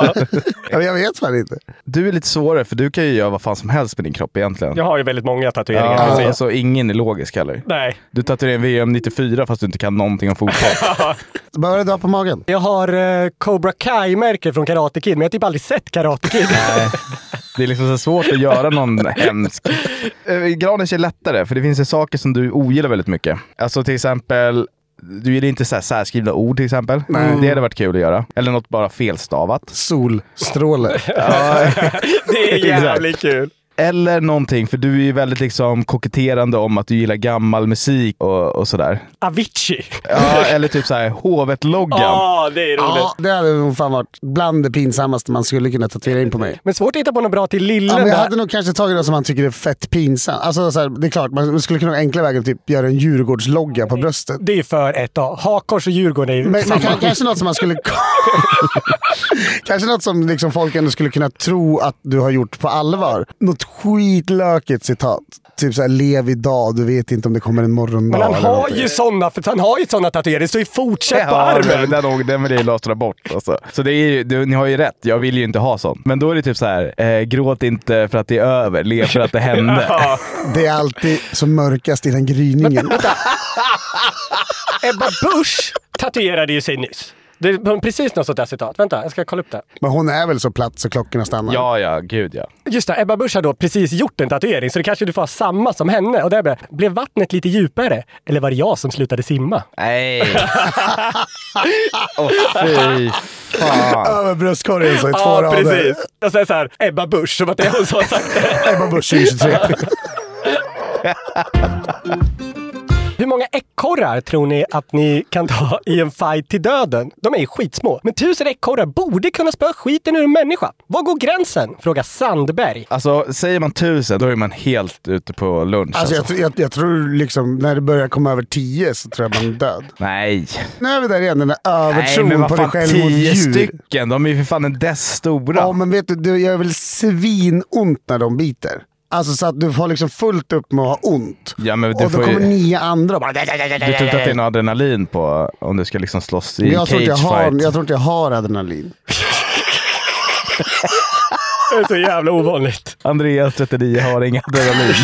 Speaker 3: Ja, men jag vet fan inte.
Speaker 2: Du är lite svårare, för du kan ju göra vad fan som helst med din kropp egentligen.
Speaker 1: Jag har ju väldigt många tatueringar. kan jag
Speaker 2: Ja,
Speaker 1: säga.
Speaker 2: alltså ingen är logisk heller.
Speaker 1: Nej.
Speaker 2: Du tatuerar en VM 94 fast du inte kan någonting om fotboll.
Speaker 3: Bara det dra på magen.
Speaker 1: Jag har eh, Cobra Kai-märke från Karate Kid, men jag har typ aldrig sett Karate Kid.
Speaker 2: Det är liksom så svårt att göra någon hemsk. Eh, Granis är lättare, för det finns ju saker som du ogillar väldigt mycket. Alltså till exempel, du gillar inte så här särskrivna ord till exempel. Mm. Det hade varit kul att göra. Eller något bara felstavat.
Speaker 1: <laughs>
Speaker 3: Solstråle.
Speaker 1: <laughs> det är jävligt kul.
Speaker 2: Eller någonting, för du är ju väldigt liksom koketterande om att du gillar gammal musik och, och sådär.
Speaker 1: Avicii.
Speaker 2: Ja, eller typ så här hovet-loggan.
Speaker 1: Ja, det är roligt.
Speaker 3: Ja, det hade nog fan varit bland det pinsammaste man skulle kunna tatuera in på mig.
Speaker 1: Men svårt att hitta på något bra till
Speaker 3: Ja,
Speaker 1: lillen
Speaker 3: men jag
Speaker 1: där.
Speaker 3: hade nog kanske tagit något som man tycker är fett pinsamt. Alltså, så här, det är klart, man skulle kunna enkla vägen typ göra en Djurgårdslogga på bröstet.
Speaker 1: Det är för ett A. Hakors och Djurgården är ju
Speaker 3: Men, men
Speaker 1: samma.
Speaker 3: kan, kanske något som man skulle... <laughs> kanske något som liksom folk ändå skulle kunna tro att du har gjort på allvar. Något skitlökigt citat. Typ såhär, lev idag, du vet inte om det kommer en morgondag.
Speaker 1: Men han
Speaker 3: eller
Speaker 1: har
Speaker 3: någonting.
Speaker 1: ju sådana, för han har ju sådana tatueringar. Det står ju fortsätt på
Speaker 2: Ja,
Speaker 1: armen.
Speaker 2: Den, den, den vill jag ju lastra bort. Alltså. Så det är ju, du, ni har ju rätt, jag vill ju inte ha sånt. Men då är det typ så här, eh, gråt inte för att det är över, le för att det
Speaker 3: <laughs>
Speaker 2: hände.
Speaker 3: Det är alltid som mörkast innan gryningen.
Speaker 1: Ebba Busch tatuerade ju sig nyss. Det är precis något sånt där citat. Vänta, jag ska kolla upp det.
Speaker 3: Men hon är väl så platt så klockorna stannar?
Speaker 2: Ja, ja, gud ja.
Speaker 1: Just det, Ebba Busch har då precis gjort en tatuering, så det kanske du får ha samma som henne. Och där blev, blev vattnet lite djupare? Eller var det jag som slutade simma?
Speaker 2: Nej. oh, fy fan.
Speaker 3: Över bröstkorgen så i två
Speaker 1: Ja,
Speaker 3: rader.
Speaker 1: precis. Jag säger så här, Ebba Busch, som att det är hon som har sagt det.
Speaker 3: Ebba Busch 2023.
Speaker 1: <laughs> Hur många ekorrar tror ni att ni kan ta i en fight till döden? De är ju skitsmå. Men tusen ekorrar borde kunna spöa skiten ur en människa. Var går gränsen? Frågar Sandberg.
Speaker 2: Alltså, säger man tusen, då är man helt ute på lunch.
Speaker 3: Alltså jag,
Speaker 2: alltså.
Speaker 3: tr- jag, jag tror liksom när det börjar komma över tio så tror jag man är död.
Speaker 2: Nej.
Speaker 3: Nu är vi där igen, den där
Speaker 2: Nej,
Speaker 3: övertron
Speaker 2: men vad
Speaker 3: på dig
Speaker 2: fan,
Speaker 3: själv mot
Speaker 2: tio
Speaker 3: djur.
Speaker 2: stycken. De är ju för fan en dess stora.
Speaker 3: Ja, men vet du, det gör väl svinont när de biter. Alltså så att du har liksom fullt upp med att ha ont.
Speaker 2: Ja, men du
Speaker 3: och då
Speaker 2: får ju-
Speaker 3: kommer nio andra och bara...
Speaker 2: Du tror inte att det är någon adrenalin på om du ska liksom slåss i en
Speaker 3: jag, tror
Speaker 2: cage
Speaker 3: inte jag, har,
Speaker 2: fight?
Speaker 3: jag tror inte jag har adrenalin.
Speaker 1: Det är så jävla ovanligt.
Speaker 2: Andreas 39 har inga
Speaker 3: <laughs>
Speaker 2: adrenalin.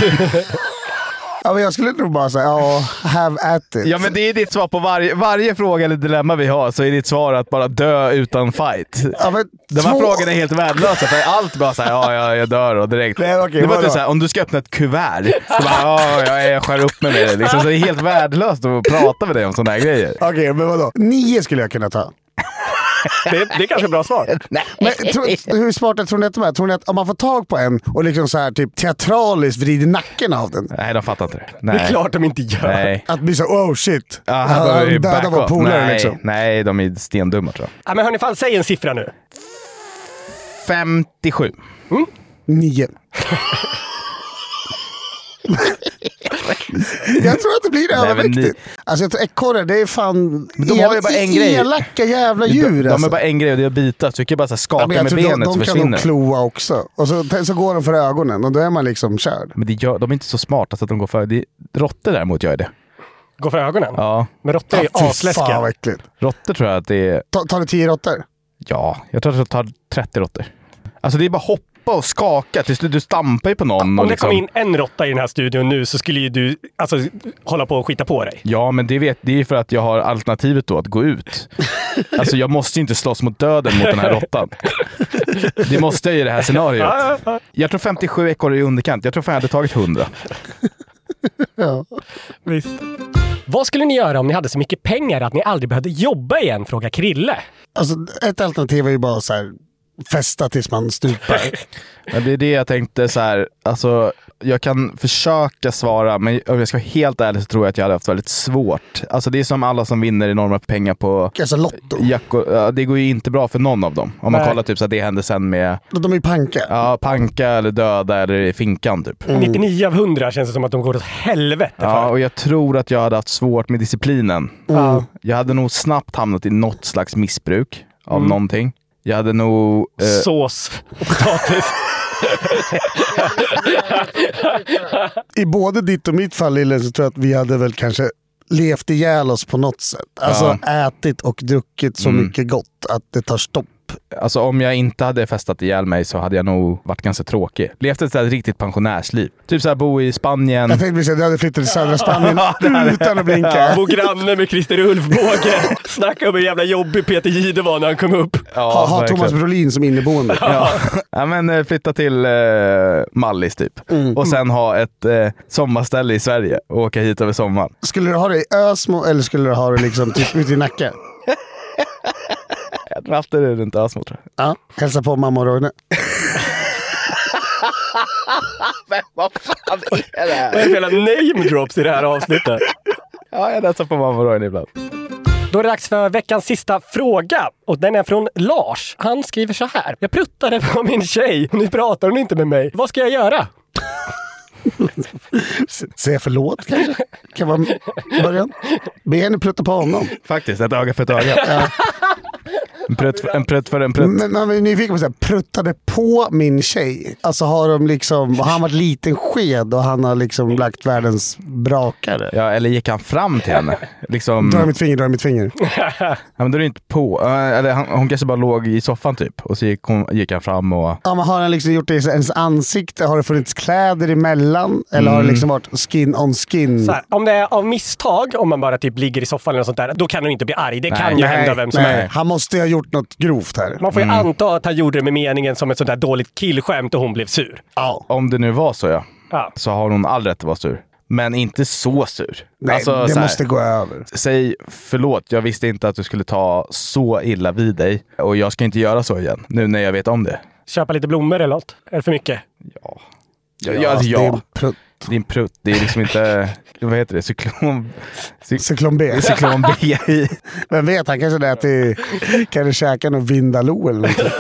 Speaker 3: Ja, men jag skulle nog bara säga ja, have at it.
Speaker 2: ja, men det är ditt svar på varje, varje fråga eller dilemma vi har, så är ditt svar att bara dö utan fight.
Speaker 3: Ja, men
Speaker 2: De här
Speaker 3: två-
Speaker 2: frågorna är helt värdelösa, för allt bara såhär, ja, ja, jag dör och direkt.
Speaker 3: Nej, okej,
Speaker 2: det var
Speaker 3: vadå?
Speaker 2: typ såhär, om du ska öppna ett kuvert, så bara, ja, ja, jag skär upp mig med det. Liksom, så det är helt värdelöst att prata med dig om sådana här grejer.
Speaker 3: Okej, men vadå? Nio skulle jag kunna ta.
Speaker 1: Det, det är kanske ett bra svar.
Speaker 3: Men tro, hur smarta tror ni att de är? Tror ni att om man får tag på en och liksom så här typ teatraliskt vrider nacken av den?
Speaker 2: Nej, de fattar inte det.
Speaker 1: Det
Speaker 2: Nej.
Speaker 1: är klart de inte gör.
Speaker 2: Nej.
Speaker 3: Att bli så oh shit.
Speaker 2: Ja, han behöver ju
Speaker 3: döda
Speaker 2: back
Speaker 3: vår
Speaker 2: off.
Speaker 3: polare
Speaker 2: Nej,
Speaker 3: liksom.
Speaker 2: Nej, de är stendumma tror
Speaker 1: Ja, men hörni, fan, säg en siffra nu.
Speaker 2: jag. 57.
Speaker 3: Nio. jag tror att det blir
Speaker 2: men ni-
Speaker 3: överviktigt. Alltså jag tror ekorrar, det är fan
Speaker 2: Men de har ju bara en grej.
Speaker 3: elaka jävla djur.
Speaker 2: de, de
Speaker 3: alltså.
Speaker 2: är bara en grej och det är att bita. Så du kan ju bara så här skaka
Speaker 3: Ja, men jag
Speaker 2: med
Speaker 3: tror de,
Speaker 2: benet
Speaker 3: de
Speaker 2: så
Speaker 3: kan nog
Speaker 2: försvinner den.
Speaker 3: kloa också. Och så, så går de för ögonen och då är man liksom körd.
Speaker 2: Men det gör, de är inte så smarta så att de går för... Det, råttor däremot gör ju det.
Speaker 1: Gå för ögonen.
Speaker 2: Ja.
Speaker 1: Men råttor är ju
Speaker 3: Ah, fy
Speaker 1: asläskiga.
Speaker 3: fan vad äckligt.
Speaker 2: Råttor tror jag att det är...
Speaker 3: Ta- Tar det tio råttor?
Speaker 2: Ja, jag tror att jag tar 30 råttor. Alltså det är bara hoppa och skaka. Till slut, du stampar ju på någon.
Speaker 1: Om
Speaker 2: Och
Speaker 1: det
Speaker 2: liksom,
Speaker 1: kom in en råtta i den här studion nu så skulle ju du alltså, hålla på och skita på dig.
Speaker 2: Ja, men det, vet, det är ju för att jag har alternativet då att gå
Speaker 1: <laughs>
Speaker 2: ut. Alltså jag måste ju inte slåss mot döden mot den här råttan. Det måste jag ju i det här scenariot.
Speaker 1: Ja, ja, ja.
Speaker 2: Jag tror 57 ekorre är i underkant. Jag tror fan jag hade tagit 100.
Speaker 1: Visst. Vad skulle ni göra om ni hade så mycket pengar att ni aldrig behövde jobba igen? Frågar Krille.
Speaker 3: Alltså, ett alternativ är ju bara så här, festa tills
Speaker 2: <laughs>
Speaker 3: man stupar.
Speaker 2: Men det är det jag tänkte så här, alltså jag kan försöka svara, men om jag ska vara helt ärlig så tror jag att jag hade haft väldigt svårt. Alltså det är som alla som vinner enorma pengar på
Speaker 3: alltså Lotto.
Speaker 2: Jack och, ja, det går ju inte bra för någon av dem. Om man
Speaker 1: Nej.
Speaker 2: kollar typ så här, det hände sen med
Speaker 3: De är ju panka.
Speaker 2: ja, panka eller döda eller i finkan typ.
Speaker 1: Mm. 99 av 100 känns det som att de går åt helvete
Speaker 2: Ja,
Speaker 1: för.
Speaker 2: och jag tror att jag hade haft svårt med disciplinen.
Speaker 1: Ja.
Speaker 2: Jag hade nog snabbt hamnat i något slags missbruk av någonting. Jag hade nog... eh,
Speaker 1: Sås och potatis.
Speaker 3: I både ditt och mitt fall Lille, så tror jag att vi hade väl kanske levt ihjäl oss på något sätt. Alltså ätit och druckit
Speaker 2: Mm.
Speaker 3: så mycket gott att det tar stopp.
Speaker 2: Alltså om jag inte hade festat ihjäl mig så hade jag nog varit ganska tråkig. Levt ett så här riktigt pensionärsliv. Typ så här bo i Spanien.
Speaker 3: Jag tänkte precis att du hade flyttat till
Speaker 2: <laughs>
Speaker 3: södra Spanien utan att blinka.
Speaker 1: Bo granne med Christer Ulfbåge. Snacka om hur jävla jobbig Peter Jihde var när han kom upp.
Speaker 2: Ja,
Speaker 3: Ha, ha
Speaker 2: verkligen.
Speaker 3: Thomas Brolin som inneboende.
Speaker 2: Ja. <laughs> ja, men eh, flytta till eh, Mallis typ.
Speaker 3: Mm.
Speaker 2: Och sen ha ett eh, sommarställe i Sverige och åka hit över sommaren.
Speaker 3: Skulle du ha det i Ösmo eller skulle du ha det liksom typ ute i Nacka?
Speaker 2: Jag tror alltid det är runt Ösmo tror jag.
Speaker 3: Ja. Hälsa på mamma och Roine.
Speaker 1: Det är hela name drops i det här avsnittet.
Speaker 2: Ja, jag dansar på mamma och Roine ibland.
Speaker 1: Då är det dags för veckans sista fråga. Och den är från Lars. Han skriver så här. Jag pruttade på min tjej och nu pratar hon inte med mig. Vad ska jag göra?
Speaker 3: S- Säga förlåt kanske? Kan vara början. Be henne prutta på honom.
Speaker 2: Faktiskt, ett öga för ett öga. En prutt för en prutt. För en prutt.
Speaker 3: Men man är nyfiken på så här, pruttade på min tjej. Alltså har de liksom, har han varit liten sked och han har liksom lagt världens brakare?
Speaker 1: Mm.
Speaker 2: Ja, eller gick han fram till henne? Liksom...
Speaker 3: Dra i mitt finger, dra i mitt finger.
Speaker 2: ja, men då är det inte på. Eh, Eller han, hon kanske bara låg i soffan typ. Och så gick, hon, gick han fram och...
Speaker 3: Ja, men har han liksom gjort det i ens ansikte? Har det funnits kläder emellan? Eller har det
Speaker 2: Mm.
Speaker 3: liksom varit skin on skin?
Speaker 1: Så här, om det är av misstag, om man bara typ ligger i soffan eller något sånt där, då kan hon inte bli arg. Det kan ju hända vem som helst.
Speaker 3: Han måste ju ha gjort något grovt här.
Speaker 1: Man får ju anta att han gjorde det med meningen som ett sånt där dåligt killskämt och hon blev sur.
Speaker 2: Om det nu var så ja.
Speaker 1: Ja.
Speaker 2: Så har hon all rätt att vara sur. Men inte så sur. Alltså,
Speaker 3: Nej,
Speaker 1: Alltså,
Speaker 3: det
Speaker 2: så här,
Speaker 3: måste gå över.
Speaker 2: Säg förlåt, jag visste inte att du skulle ta så illa vid dig. Och jag ska inte göra så igen, nu när jag vet om det.
Speaker 1: Köpa lite blommor eller något. Är det för mycket?
Speaker 2: Ja,
Speaker 1: Ja,
Speaker 2: ja, alltså,
Speaker 1: det är
Speaker 2: ja.
Speaker 1: en
Speaker 3: prutt.
Speaker 2: Det är en prutt. Det är liksom inte...
Speaker 3: <laughs>
Speaker 2: vad heter det? Cyklon... Cy-
Speaker 3: Cyklon B.
Speaker 2: Cyklon B.
Speaker 3: Vem vet, han kanske lät i... Kan du käka någon Vindaloo eller något?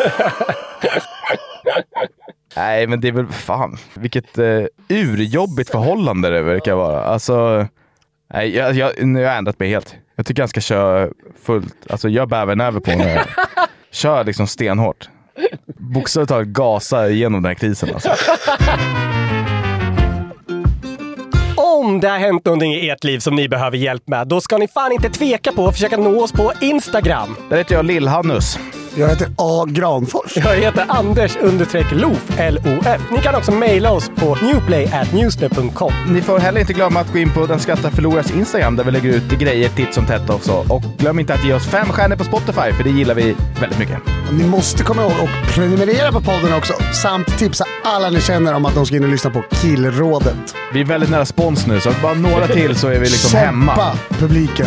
Speaker 2: Nej, men det är väl fan. Vilket eh, urjobbigt förhållande det verkar vara. Alltså, nej, jag, jag, nu har jag ändrat mig helt. Jag tycker han ska köra fullt. Alltså, jag bävernäver på honom. Kör liksom stenhårt. Bokstavligt talat gasa igenom den här krisen. Alltså.
Speaker 1: Om det har hänt någonting i ert liv som ni behöver hjälp med, då ska ni fan inte tveka på att försöka nå oss på Instagram.
Speaker 2: Där heter jag Lillhannus.
Speaker 3: Jag heter A. Granfors.
Speaker 1: Jag heter Anders understreck LOF, L-O-F. Ni kan också mejla oss på newplay.newsnet.com.
Speaker 2: Ni får heller inte glömma att gå in på Den Skattar Förlorars Instagram där vi lägger ut grejer titt som tätt också. Och glöm inte att ge oss fem stjärnor på Spotify för det gillar vi väldigt mycket.
Speaker 3: Ni måste komma ihåg att prenumerera på podden också. Samt tipsa alla ni känner om att de ska in och lyssna på Killrådet.
Speaker 2: Vi är väldigt nära spons nu så bara några till så är vi liksom
Speaker 3: Kämpa,
Speaker 2: hemma.
Speaker 3: publiken.